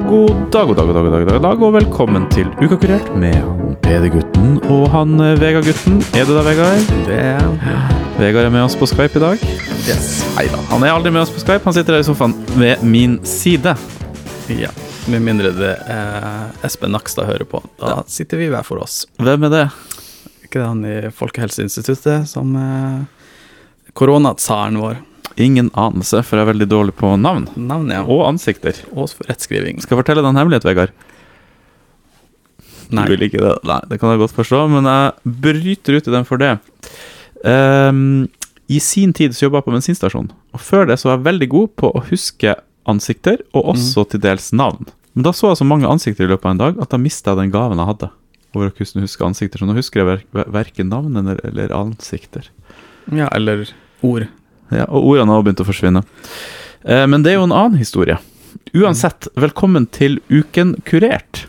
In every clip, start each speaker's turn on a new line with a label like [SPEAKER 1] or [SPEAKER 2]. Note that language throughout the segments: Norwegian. [SPEAKER 1] dag, god dag, god dag, god dag, god dag, god dag, og velkommen til Ukakurert med han PD-gutten og han eh, Vegard-gutten. Er du der, Vegard?
[SPEAKER 2] Det er
[SPEAKER 1] Vegard er med oss på Skype i dag.
[SPEAKER 2] Yes.
[SPEAKER 1] Nei da, han er aldri med oss på Skype. Han sitter der i sofaen ved min side.
[SPEAKER 2] Ja. Med mindre det eh, Espen Nakstad hører på. Da sitter vi hver for oss.
[SPEAKER 1] Hvem er det?
[SPEAKER 2] Ikke det han i Folkehelseinstituttet som eh, Koronatsaren vår.
[SPEAKER 1] Ingen anelse, for jeg er veldig dårlig på navn.
[SPEAKER 2] Navnet ja.
[SPEAKER 1] Og ansikter.
[SPEAKER 2] og rettskriving.
[SPEAKER 1] Skal jeg fortelle deg en hemmelighet, Vegard?
[SPEAKER 2] Nei.
[SPEAKER 1] Du vil ikke det? Nei, det kan jeg godt forstå, men jeg bryter ut i den for det. Ehm, I sin tid så jobba jeg på bensinstasjon, og før det så var jeg veldig god på å huske ansikter, og også til dels navn. Men da så jeg så mange ansikter i løpet av en dag at da mista jeg den gaven jeg hadde. Over å kunne huske ansikter, Så nå husker jeg ver verken navn eller, eller ansikter.
[SPEAKER 2] Ja, eller ord.
[SPEAKER 1] Ja, og ordene har begynt å forsvinne. Eh, men det er jo en annen historie. Uansett, velkommen til Uken kurert.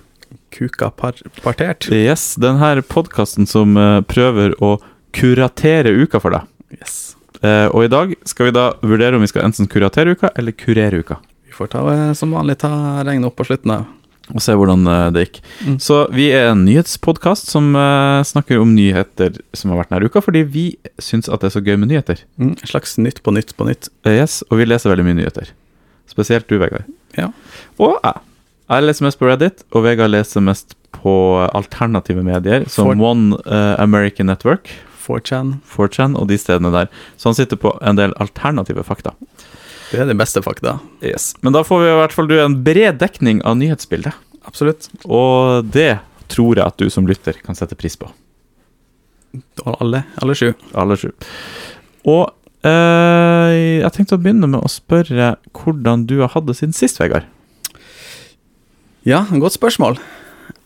[SPEAKER 2] Kuka par partert.
[SPEAKER 1] Yes, den her podkasten som eh, prøver å kuratere uka for deg.
[SPEAKER 2] Yes.
[SPEAKER 1] Eh, og i dag skal vi da vurdere om vi skal enten kuratere uka eller kurere uka.
[SPEAKER 2] Vi får ta, eh, som vanlig ta regnet opp på slutten av.
[SPEAKER 1] Og se hvordan eh, det gikk.
[SPEAKER 2] Mm.
[SPEAKER 1] Så vi er en nyhetspodkast som eh, snakker om nyheter som har vært denne uka, fordi vi syns at det er så gøy med nyheter.
[SPEAKER 2] Mm. Slags nytt på nytt på nytt.
[SPEAKER 1] Eh, yes, og vi leser veldig mye nyheter. Spesielt du, Vegard.
[SPEAKER 2] Ja.
[SPEAKER 1] Og jeg. Jeg leser mest på Reddit, og Vegard leser mest på alternative medier, som
[SPEAKER 2] For-
[SPEAKER 1] One eh, American Network.
[SPEAKER 2] 4chan.
[SPEAKER 1] 4chan og de stedene der. Så han sitter på en del alternative fakta.
[SPEAKER 2] Det er de beste fakta.
[SPEAKER 1] Men da får vi i hvert fall du en bred dekning av nyhetsbildet.
[SPEAKER 2] Absolutt.
[SPEAKER 1] Og det tror jeg at du som lytter kan sette pris på.
[SPEAKER 2] Alle, alle sju.
[SPEAKER 1] Alle sju. Og eh, jeg tenkte å begynne med å spørre hvordan du har hatt det siden sist, Vegard.
[SPEAKER 2] Ja, godt spørsmål.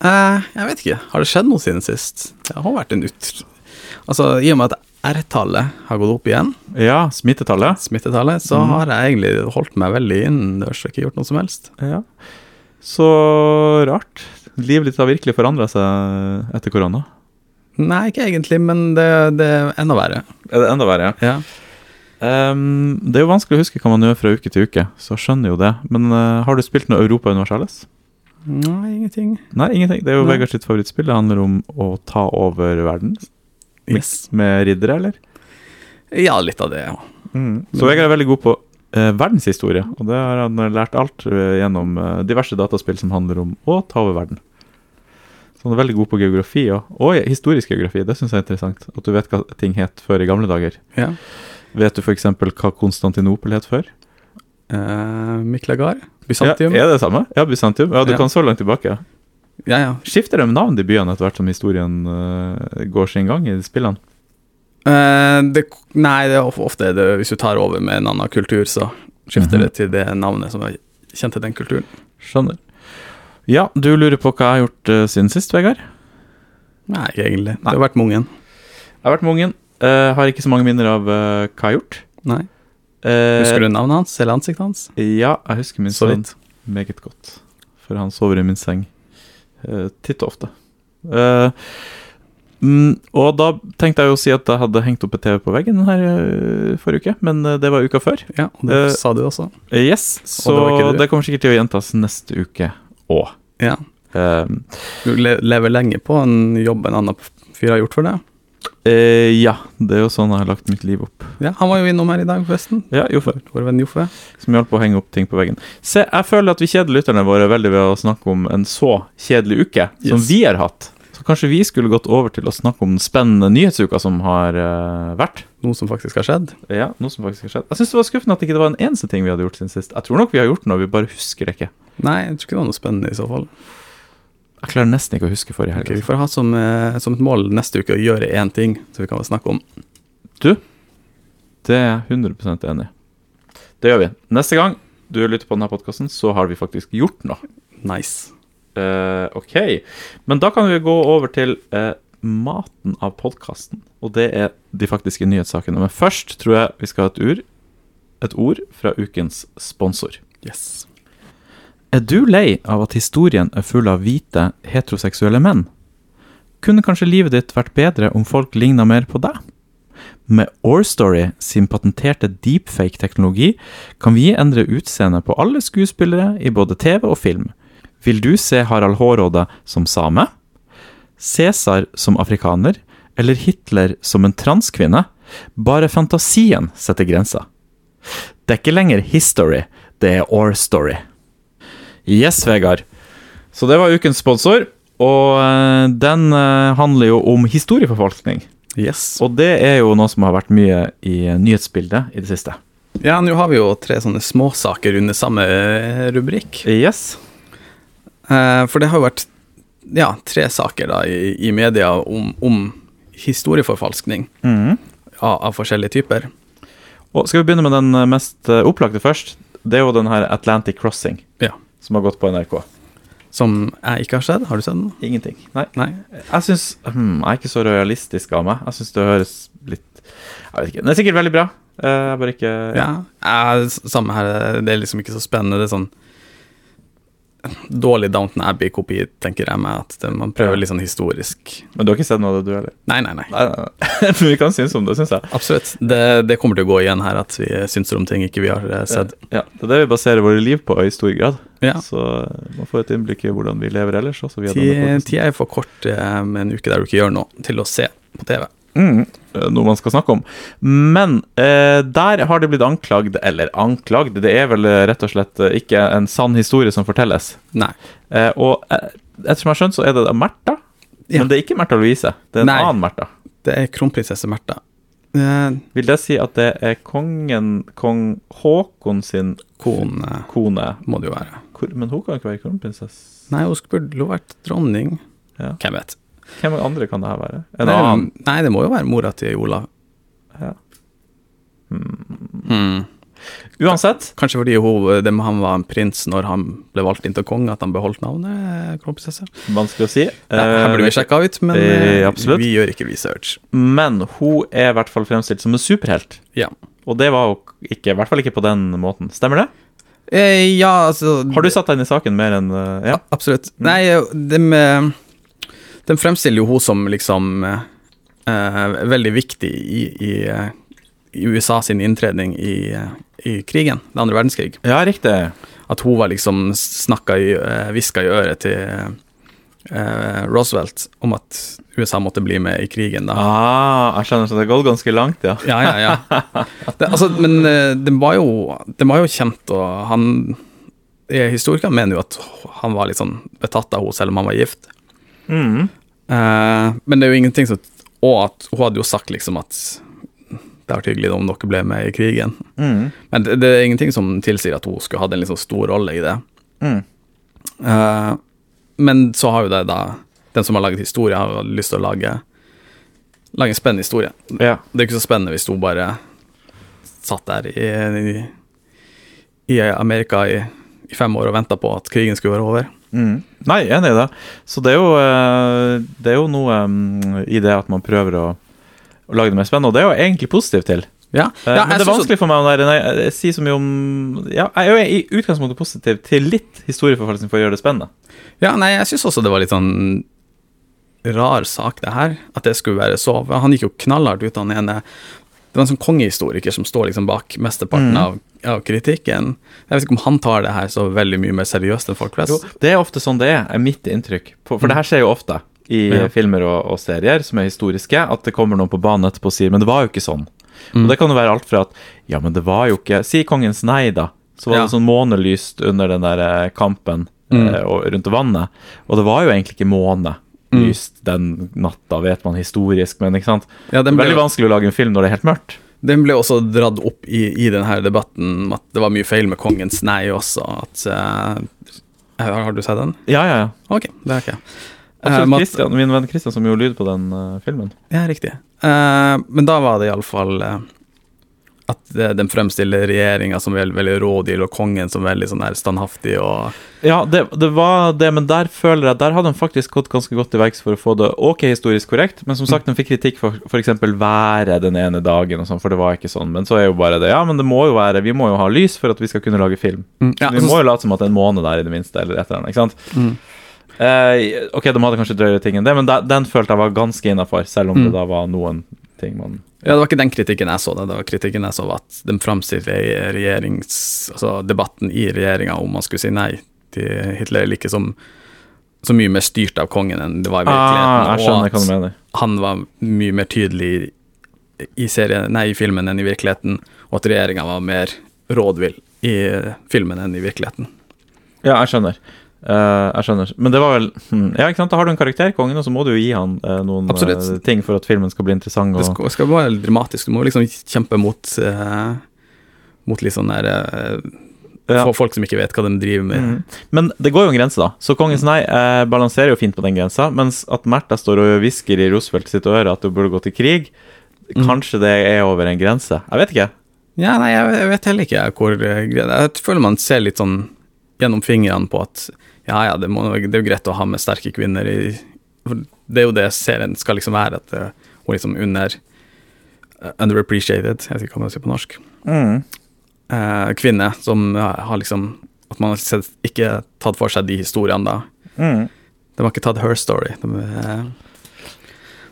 [SPEAKER 2] Eh, jeg vet ikke. Har det skjedd noe siden sist? Det har vært en ut... Altså, I og med at R-tallet har gått opp igjen,
[SPEAKER 1] Ja, smittetallet.
[SPEAKER 2] smittetallet, så har jeg egentlig holdt meg veldig innendørs og ikke gjort noe som helst.
[SPEAKER 1] Ja. Så rart. Livet ditt har virkelig forandra seg etter korona.
[SPEAKER 2] Nei, ikke egentlig, men det, det er enda verre.
[SPEAKER 1] Er det enda verre?
[SPEAKER 2] Ja.
[SPEAKER 1] Ehm, det er jo vanskelig å huske hva man gjør fra uke til uke, så jeg skjønner jo det. Men eh, har du spilt noe Europa Universalis?
[SPEAKER 2] Nei, ingenting.
[SPEAKER 1] Nei, ingenting. Det er jo
[SPEAKER 2] Nei.
[SPEAKER 1] Vegard sitt favorittspill. Det handler om å ta over verden
[SPEAKER 2] Yes.
[SPEAKER 1] med riddere, eller?
[SPEAKER 2] Ja, litt av det. ja.
[SPEAKER 1] Så Vegard er veldig god på eh, verdenshistorie, og det har han lært alt eh, gjennom eh, diverse dataspill som handler om å ta over verden. Så han er veldig god på geografi og, og historisk geografi. Det syns jeg er interessant. At du vet hva ting het før i gamle dager.
[SPEAKER 2] ja.
[SPEAKER 1] Vet du f.eks. hva Konstantinopel het før?
[SPEAKER 2] Eh, Miklagar? Bysantium?
[SPEAKER 1] Ja, er det samme? Ja, Bysantium. Ja, du
[SPEAKER 2] Ja.
[SPEAKER 1] kan så langt tilbake.
[SPEAKER 2] Ja, ja.
[SPEAKER 1] Skifter de navn i byene etter hvert som historien eh, går sin gang i spillene?
[SPEAKER 2] Eh, det, nei, det er of- ofte er det, hvis du tar over med en annen kultur, så skifter det til det navnet som er kjent til den kulturen.
[SPEAKER 1] Skjønner. Ja, du lurer på hva jeg har gjort eh, siden sist, Vegard?
[SPEAKER 2] Nei, ikke egentlig. Det har vært Mungen.
[SPEAKER 1] Jeg har vært med ungen. eh, har ikke så mange minner av eh, hva jeg har gjort.
[SPEAKER 2] Nei.
[SPEAKER 1] Eh,
[SPEAKER 2] Husker du navnet hans eller ansiktet hans?
[SPEAKER 1] Ja, jeg husker min
[SPEAKER 2] Så
[SPEAKER 1] sønn meget godt. For han sover i min seng eh, titt og ofte. Eh, mm, og da tenkte jeg jo å si at jeg hadde hengt opp et TV på veggen her eh, forrige uke, men eh, det var uka før.
[SPEAKER 2] Ja, og det
[SPEAKER 1] Eh,
[SPEAKER 2] sa du også.
[SPEAKER 1] Eh, Yes, så
[SPEAKER 2] det var ikke
[SPEAKER 1] det,
[SPEAKER 2] du.
[SPEAKER 1] kommer sikkert til å gjentas neste uke Ehm, òg.
[SPEAKER 2] Ja. Du le lever lenge på en jobb en annen fyr har gjort for deg.
[SPEAKER 1] Eh, ja, det er jo sånn jeg har lagt mitt liv opp.
[SPEAKER 2] Ja, han var jo innom her i dag, forresten.
[SPEAKER 1] Ja, Joffe,
[SPEAKER 2] Vår venn Joffe.
[SPEAKER 1] som hjalp å henge opp ting på veggen. Se, jeg føler at vi kjeder lytterne våre veldig ved å snakke om en så kjedelig uke som
[SPEAKER 2] Yes.
[SPEAKER 1] vi har hatt. Så kanskje vi skulle gått over til å snakke om den spennende nyhetsuka som har eh, vært.
[SPEAKER 2] Noe som faktisk har skjedd.
[SPEAKER 1] Ja, noe som faktisk har skjedd. Jeg syns det var skuffende at det ikke var en eneste ting vi hadde gjort siden sist. Jeg tror nok vi har gjort noe, vi bare husker det ikke.
[SPEAKER 2] Nei, jeg tror ikke det var noe spennende i så fall.
[SPEAKER 1] Jeg klarer nesten ikke å huske forrige helg.
[SPEAKER 2] Ok, vi får ha som, eh, som et mål neste uke å gjøre én ting som vi kan snakke om.
[SPEAKER 1] Det er jeg 100 enig i. Det gjør vi. Neste gang du lytter på denne podkasten, så har vi faktisk gjort noe.
[SPEAKER 2] Nice.
[SPEAKER 1] Eh, ok, men da kan vi gå over til eh, maten av podkasten. Og det er de faktiske nyhetssakene. Men først tror jeg vi skal ha et ur. Et ord fra ukens sponsor.
[SPEAKER 2] Yes.
[SPEAKER 1] Er du lei av at historien er full av hvite, heteroseksuelle menn? Kunne kanskje livet ditt vært bedre om folk ligna mer på deg? Med Orstory sin patenterte deepfake-teknologi kan vi endre utseendet på alle skuespillere i både TV og film. Vil du se Harald Hårråde som same? Cæsar som afrikaner? Eller Hitler som en transkvinne? Bare fantasien setter grenser. Det er ikke lenger history, det er our story. Yes, Vegard. Så det var ukens sponsor, og eh, den eh, handler jo om historieforvaltning.
[SPEAKER 2] Yes.
[SPEAKER 1] Og det er jo noe som har vært mye i nyhetsbildet i det siste.
[SPEAKER 2] Ja, nå har vi jo tre sånne småsaker under samme eh, rubrikk.
[SPEAKER 1] Yes.
[SPEAKER 2] Eh, For det har jo vært ja, tre saker da, i, i media om, om historieforfalskning av, av forskjellige typer.
[SPEAKER 1] Mhm. Og skal vi begynne med den eh, mest eh, opplagte først? Det er jo den her Atlantic Crossing,
[SPEAKER 2] Ja.
[SPEAKER 1] som har gått på NRK.
[SPEAKER 2] Som jeg ikke har sett. Har du sett den?
[SPEAKER 1] Ingenting. Nei.
[SPEAKER 2] Nei.
[SPEAKER 1] Jeg syns hmm, Jeg er ikke så realistisk av meg. Jeg syns det høres litt Jeg vet ikke. Den er sikkert veldig bra. Eh, Jeg bare ikke
[SPEAKER 2] Ja. Eh, s- samme her. Det er liksom ikke så spennende. Det er sånn dårlig Downton Abbey-kopi, tenker jeg meg. At det, man prøver litt sånn historisk.
[SPEAKER 1] Men du har ikke sett noe av det, du heller?
[SPEAKER 2] Nei, nei, nei.
[SPEAKER 1] Nei, nei, nei. Men vi kan synes om det, syns jeg.
[SPEAKER 2] Absolutt. Det, det kommer til å gå igjen her, at vi synser om ting ikke vi har eh, sett.
[SPEAKER 1] Ja, Det er det vi baserer våre liv på i stor grad.
[SPEAKER 2] Ja.
[SPEAKER 1] Så eh, man får et innblikk i hvordan vi lever ellers. Også via denne
[SPEAKER 2] Ti-
[SPEAKER 1] podcasten.
[SPEAKER 2] Tida er for kort eh, med en uke der du ikke gjør noe, til å se på TV.
[SPEAKER 1] mm, noe man skal snakke om. Men
[SPEAKER 2] Mm.
[SPEAKER 1] eh, der har det blitt anklagd, eller anklagd Det er vel eh, rett og slett eh, ikke en sann historie som fortelles.
[SPEAKER 2] Nei.
[SPEAKER 1] Eh, og eh, ettersom jeg har skjønt, så er det da Märtha.
[SPEAKER 2] Ja.
[SPEAKER 1] Men det er ikke Märtha Louise. Det er en
[SPEAKER 2] Nei.
[SPEAKER 1] annen Märtha.
[SPEAKER 2] Det er kronprinsesse Märtha. Eh,
[SPEAKER 1] Vil det si at det er kongen, kong Haakon sin
[SPEAKER 2] Kone
[SPEAKER 1] kone?
[SPEAKER 2] eh, må det jo være.
[SPEAKER 1] Hvor, men hun kan jo ikke være kronprinsesse.
[SPEAKER 2] Nei, hun skulle burde jo vært dronning.
[SPEAKER 1] Ja.
[SPEAKER 2] Hvem vet.
[SPEAKER 1] Hvem andre kan det her være? En
[SPEAKER 2] Nei,
[SPEAKER 1] annen?
[SPEAKER 2] Nei, det må jo være mora til Olav.
[SPEAKER 1] Ja.
[SPEAKER 2] Hmm.
[SPEAKER 1] Uansett,
[SPEAKER 2] Kanskje fordi hun, det, han var en prins når han ble valgt inn til konge, at han beholdt navnet eh, kronprinsesse.
[SPEAKER 1] vanskelig å si.
[SPEAKER 2] Ja, her burde vi
[SPEAKER 1] Eh,
[SPEAKER 2] sjekka ut, men
[SPEAKER 1] eh,
[SPEAKER 2] eh,
[SPEAKER 1] absolutt.
[SPEAKER 2] vi gjør ikke research.
[SPEAKER 1] men hun er i hvert fall fremstilt som en superhelt.
[SPEAKER 2] Ja.
[SPEAKER 1] Og det var jo ikke, i hvert fall ikke på den måten. Stemmer det?
[SPEAKER 2] Eh, ja, altså
[SPEAKER 1] Har du satt deg inn i saken mer enn eh, Ja.
[SPEAKER 2] Ja, absolutt. Nei, eh, de, de fremstiller jo hun som liksom eh, veldig viktig i, i, eh, i USA sin inntredning i, eh, i krigen, det andre verdenskrig.
[SPEAKER 1] Ja, riktig.
[SPEAKER 2] At hun var liksom snakka i eh, Hviska i øret til eh, Roosevelt om at USA måtte bli med i krigen, da.
[SPEAKER 1] Ah, jeg skjønner, så det har gått ganske langt, ja.
[SPEAKER 2] Ja, ja, ja. Det, altså, men eh, den var, jo, den var jo kjent, og han eh, Historikeren mener jo at han var litt sånn betatt av henne, selv om han var gift.
[SPEAKER 1] Mm.
[SPEAKER 2] Eh, men det er jo ingenting som Og at hun hadde jo sagt liksom at det var hyggelig om dere ble med i krigen.
[SPEAKER 1] Mm.
[SPEAKER 2] Men det, det er ingenting som tilsier at hun skulle hatt en liksom stor rolle i det.
[SPEAKER 1] Mm.
[SPEAKER 2] Eh, men så har jo det da Den som har laget historie, har lyst til å lage Lage en spennende historie.
[SPEAKER 1] Ja.
[SPEAKER 2] Det er ikke så spennende hvis hun bare satt der i, i, i Amerika i, i fem år og venta på at krigen skulle være over.
[SPEAKER 1] Mm. Nei, enig i det. Så det er jo, eh, det er jo noe mm, i det at man prøver å, å lage det mer spennende, og det er jo egentlig positivt til.
[SPEAKER 2] Ja,
[SPEAKER 1] Eh,
[SPEAKER 2] ja,
[SPEAKER 1] Men det
[SPEAKER 2] jeg
[SPEAKER 1] er
[SPEAKER 2] synes at-
[SPEAKER 1] vanskelig for meg å være- nei, jeg- jeg sier så mye om Ja, jeg er jo i utgangspunktet positiv til litt historieforfalskning for å gjøre det spennende.
[SPEAKER 2] Ja, nei, jeg syns også det var litt sånn rar sak, det her. At det skulle være så Han gikk jo knallhardt ut, han ene. Det var en sånn kongehistoriker som står liksom bak mesteparten
[SPEAKER 1] Mm.
[SPEAKER 2] av, av kritikken. Jeg vet ikke om han tar det her så veldig mye mer seriøst enn folk flest.
[SPEAKER 1] Jo, det er ofte sånn det er, er mitt inntrykk. For, for det her skjer jo ofte i
[SPEAKER 2] Mm. Ja.
[SPEAKER 1] filmer og, og serier som er historiske, at det kommer noen på banen etterpå og sier 'men det var jo ikke sånn'.
[SPEAKER 2] Mm.
[SPEAKER 1] Og det kan jo være alt fra at 'ja, men det var jo ikke' Si 'Kongens nei', da. Så var
[SPEAKER 2] Ja. Mm.
[SPEAKER 1] det sånn månelyst under den der eh, kampen eh, og rundt vannet. Og det var jo egentlig ikke måne. Lyst den natta, vet man historisk, men ikke sant?
[SPEAKER 2] Ja, Mm. den ble
[SPEAKER 1] Veldig
[SPEAKER 2] jo-
[SPEAKER 1] vanskelig å lage en film når det er helt mørkt.
[SPEAKER 2] Den ble også dratt opp i, i denne debatten om at det var mye feil med kongens nei også. At, eh, har, har du sett den?
[SPEAKER 1] Ja, ja, ja.
[SPEAKER 2] Ok, det har ikke jeg. Eh,
[SPEAKER 1] Absolutt
[SPEAKER 2] men at-
[SPEAKER 1] Christian, min venn Christian som gjorde lyd på den eh, filmen.
[SPEAKER 2] Ja, riktig. Eh, men da var det iallfall uh, at eh, den fremstiller regjeringa som veldig, veldig rådyr, og kongen som veldig sånn der standhaftig og
[SPEAKER 1] Ja, det, det var det, men der føler jeg Der hadde han faktisk gått ganske godt til verks for å få det ok historisk korrekt, men som sagt, den fikk kritikk for f.eks. været den ene dagen og sånn, for det var ikke sånn. Men så er jo bare det Ja, men det må jo være Vi må jo ha lys for at vi skal kunne lage film.
[SPEAKER 2] ja,
[SPEAKER 1] vi
[SPEAKER 2] altså- mm.
[SPEAKER 1] må jo late som at det er en måned der, i det minste, eller et eller annet, ikke sant? Eh, ok, de hadde kanskje drøyere ting enn det, men da- den følte jeg var ganske innafor, selv om det da var noen ting man
[SPEAKER 2] Ja, det var ikke den kritikken jeg så, det det var kritikken jeg så var at den fremstiller regjerings... Altså debatten i regjeringa om man skulle si nei til Hitler like som så mye mer styrt av kongen enn det var i virkeligheten.
[SPEAKER 1] Ah, jeg
[SPEAKER 2] og
[SPEAKER 1] skjønner
[SPEAKER 2] at
[SPEAKER 1] hva du mener.
[SPEAKER 2] han var mye mer tydelig i, serien, nei, i filmen enn i virkeligheten, og at regjeringa var mer rådvill i filmen enn i virkeligheten.
[SPEAKER 1] Ja, jeg skjønner. Eh, jeg skjønner. Men det var vel hm, Ja, ikke sant? Da har du en karakter, kongen, og så må du jo gi han eh, noen eh,
[SPEAKER 2] Absolutt.
[SPEAKER 1] ting for at filmen skal bli interessant.
[SPEAKER 2] Det
[SPEAKER 1] Og...
[SPEAKER 2] skal, skal være dramatisk. Du må liksom kjempe mot eh, Mot litt sånn der eh,
[SPEAKER 1] Ja.
[SPEAKER 2] for folk som ikke vet hva de driver med.
[SPEAKER 1] Mm. Men det går jo en grense, da. Så
[SPEAKER 2] Mm.
[SPEAKER 1] Kongens nei eh, balanserer jo fint på den grensa. Mens at Märtha står og hvisker i Roosevelt sitt øre at hun burde gå til krig,
[SPEAKER 2] Mm.
[SPEAKER 1] kanskje det er over en grense. Jeg vet ikke.
[SPEAKER 2] Ja, nei, jeg, jeg vet heller ikke hvor eh, greia det er. Jeg føler man ser litt sånn gjennom fingrene på at ja, ja, det, må, det er jo greit å ha med sterke kvinner i for Det er jo det serien skal liksom være, at eh, hun liksom under eh, Underappreciated, jeg vet ikke hva man sier på norsk. Mm. Eh, kvinne som eh, har liksom At man har sett, ikke tatt for seg de historiene, da. Mm. De har ikke tatt her story. De, eh,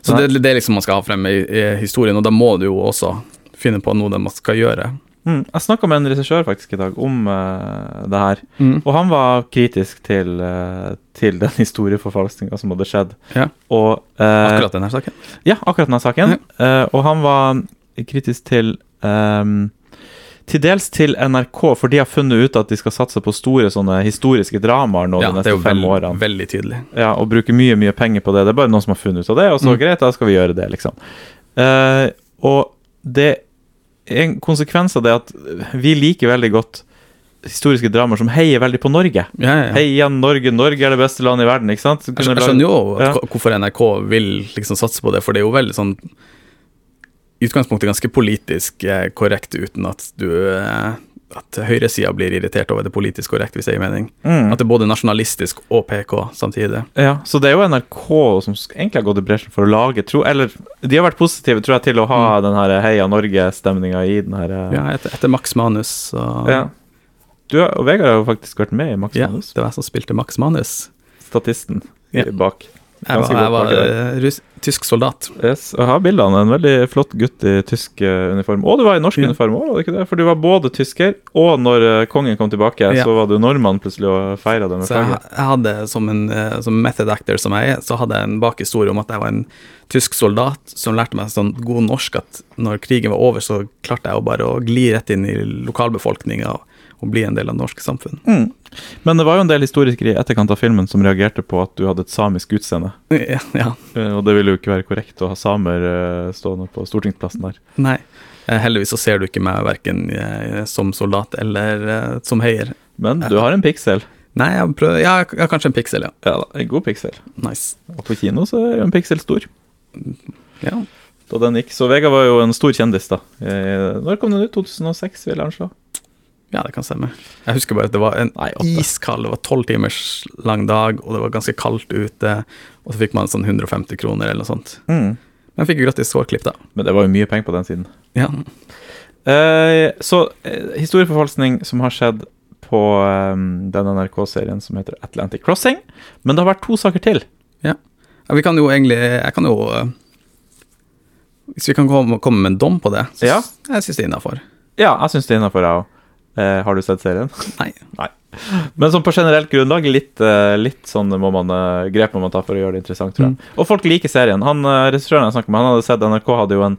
[SPEAKER 2] så
[SPEAKER 1] Nei.
[SPEAKER 2] det, det er liksom man skal ha frem i, i historien, og da må du jo også finne på noe man skal gjøre.
[SPEAKER 1] Mm. Jeg snakka med en regissør faktisk i dag om eh, det her,
[SPEAKER 2] Mm.
[SPEAKER 1] og han var kritisk til, eh, til den historieforfalskninga som hadde skjedd.
[SPEAKER 2] Ja.
[SPEAKER 1] Og, eh,
[SPEAKER 2] Akkurat denne saken.
[SPEAKER 1] Ja, akkurat denne saken. Eh, og han var kritisk til ehm, til dels til NRK, for de har funnet ut at de skal satse på store sånne historiske dramaer nå
[SPEAKER 2] Ja,
[SPEAKER 1] de
[SPEAKER 2] det er
[SPEAKER 1] neste
[SPEAKER 2] jo
[SPEAKER 1] fem
[SPEAKER 2] veld,
[SPEAKER 1] årene.
[SPEAKER 2] veldig tydelig.
[SPEAKER 1] Ja, og bruke mye, mye penger på det. Det er bare noen som har funnet ut av det, og så
[SPEAKER 2] Mm.
[SPEAKER 1] greit, da skal vi gjøre det, liksom. Eh, og det En konsekvens av det er at vi liker veldig godt historiske dramaer som heier veldig på Norge.
[SPEAKER 2] Ja, ja, ja.
[SPEAKER 1] Heia Norge, Norge er det beste landet i verden, ikke sant?
[SPEAKER 2] Jeg skjø- jeg skjønner jo at,
[SPEAKER 1] Ja.
[SPEAKER 2] ko- hvorfor NRK vil liksom satse på det, for det er jo veldig sånn i utgangspunktet ganske politisk eh, korrekt uten at du eh, at høyresida blir irritert over det politisk korrekt, hvis det gir mening.
[SPEAKER 1] Mm.
[SPEAKER 2] At det er både nasjonalistisk og PK samtidig.
[SPEAKER 1] Ja, så det er jo NRK som sk- egentlig har gått i bresjen for å lage tro, Eller de har vært positive, tror jeg, til å ha den her Heia Norge-stemninga i den her
[SPEAKER 2] Mm.
[SPEAKER 1] eh,
[SPEAKER 2] Ja, etter, etter Max Manus, så
[SPEAKER 1] Ja. Du har- og Vegard har jo faktisk vært med i Max
[SPEAKER 2] Ja,
[SPEAKER 1] Manus,
[SPEAKER 2] det var jeg som spilte Max Manus.
[SPEAKER 1] statisten
[SPEAKER 2] Ja.
[SPEAKER 1] bak.
[SPEAKER 2] Jeg
[SPEAKER 1] Ganske
[SPEAKER 2] var, jeg
[SPEAKER 1] godt
[SPEAKER 2] var
[SPEAKER 1] tak i
[SPEAKER 2] eh, russ, tysk soldat.
[SPEAKER 1] Yes, og jeg har bilder av en veldig flott gutt i tysk eh, uniform. Og du var i norsk
[SPEAKER 2] Ja.
[SPEAKER 1] uniform òg, var du ikke det? For du var både tysker, og når eh, kongen kom tilbake,
[SPEAKER 2] Ja.
[SPEAKER 1] så var du nordmann plutselig og feira det med
[SPEAKER 2] Så jeg,
[SPEAKER 1] flagget.
[SPEAKER 2] jeg hadde som en eh, som method actor som jeg er, så hadde jeg en bakhistorie om at jeg var en tysk soldat som lærte meg sånn god norsk at når krigen var over, så klarte jeg å bare å gli rett inn i lokalbefolkninga og, og bli en del av det norske samfunn.
[SPEAKER 1] Mm. Men det var jo en del historikere i etterkant av filmen som reagerte på at du hadde et samisk utseende.
[SPEAKER 2] Ja, ja.
[SPEAKER 1] Eh, Og det ville jo ikke være korrekt å ha samer eh, stående på stortingsplassen der.
[SPEAKER 2] Nei. Eh, Heldigvis så ser du ikke meg verken som soldat eller eh, som heier.
[SPEAKER 1] Men du har en piksel.
[SPEAKER 2] Nei, jeg prøver Ja, jeg har kanskje en piksel, ja.
[SPEAKER 1] Ja da, en god piksel.
[SPEAKER 2] Nice.
[SPEAKER 1] Og på kino så er jo en piksel stor.
[SPEAKER 2] Ja.
[SPEAKER 1] Da den gikk. Så Vega var jo en stor kjendis, da. Eh, Når kom den ut? 2006, vil jeg anslå.
[SPEAKER 2] Ja, det kan stemme. Jeg husker bare at det var en
[SPEAKER 1] Nei, åtte.
[SPEAKER 2] iskald, det var tolv timers lang dag, og det var ganske kaldt ute, og så fikk man sånn 150 kroner eller noe sånt.
[SPEAKER 1] Mm.
[SPEAKER 2] Men jeg fikk jo gratis hårklipp, da.
[SPEAKER 1] Men det var jo mye penger på den siden.
[SPEAKER 2] Ja.
[SPEAKER 1] Eh, så eh, historieforfalskning som har skjedd på eh, den NRK-serien som heter Atlantic Crossing. Men det har vært to saker til.
[SPEAKER 2] ja. Vi kan jo egentlig Jeg kan jo eh, Hvis vi kan komme, komme med en dom på det, så
[SPEAKER 1] Ja.
[SPEAKER 2] s- jeg syns det er innafor.
[SPEAKER 1] Ja, jeg syns det er innafor, jeg òg. Eh, har du sett serien?
[SPEAKER 2] Nei.
[SPEAKER 1] Men sånn på generelt grunnlag, litt, eh, litt sånn må man, eh, grep må man ta for å gjøre det interessant, tror jeg.
[SPEAKER 2] Mm.
[SPEAKER 1] Og folk liker serien. Han, eh, Regissøren jeg snakket med, han hadde sett NRK hadde jo en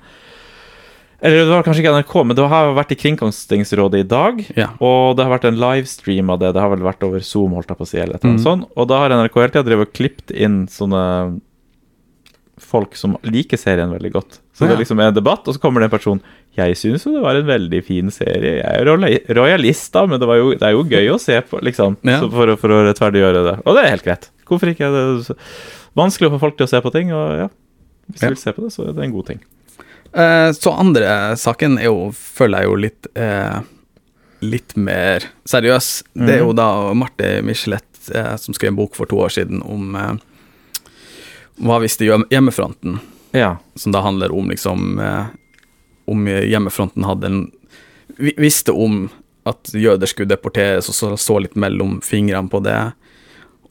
[SPEAKER 1] Eller det var kanskje ikke NRK, men det har vært i Kringkastingsrådet i dag.
[SPEAKER 2] Ja.
[SPEAKER 1] Og det har vært en livestream av det. Det har vel vært over Zoom, holdt jeg på å si. eller et eller annet
[SPEAKER 2] Mm.
[SPEAKER 1] sånn. Og da har NRK hele tida drevet og klippet inn sånne folk som liker serien veldig godt. Så
[SPEAKER 2] Ja.
[SPEAKER 1] det liksom er en debatt, og så kommer det en person Jeg syns jo det var en veldig fin serie. Jeg er rola- rojalist, da, men det, var jo, det er jo gøy å se på, liksom.
[SPEAKER 2] Ja.
[SPEAKER 1] Så for, å- for å rettferdiggjøre det. Og det er helt greit. Hvorfor ikke? Det er så- vanskelig å få folk til å se på ting, og ja. Hvis du
[SPEAKER 2] Ja.
[SPEAKER 1] vil se på det, så er det en god ting.
[SPEAKER 2] Eh, så andre saken er jo, føler jeg jo litt eh, litt mer seriøs. Det er jo da Marte Michelet eh, som skrev en bok for to år siden om eh, Hva visste hjem- hjemmefronten?
[SPEAKER 1] Ja.
[SPEAKER 2] Som da handler om liksom eh, Om hjemmefronten hadde en vi- Visste om at jøder skulle deporteres, og så, så litt mellom fingrene på det.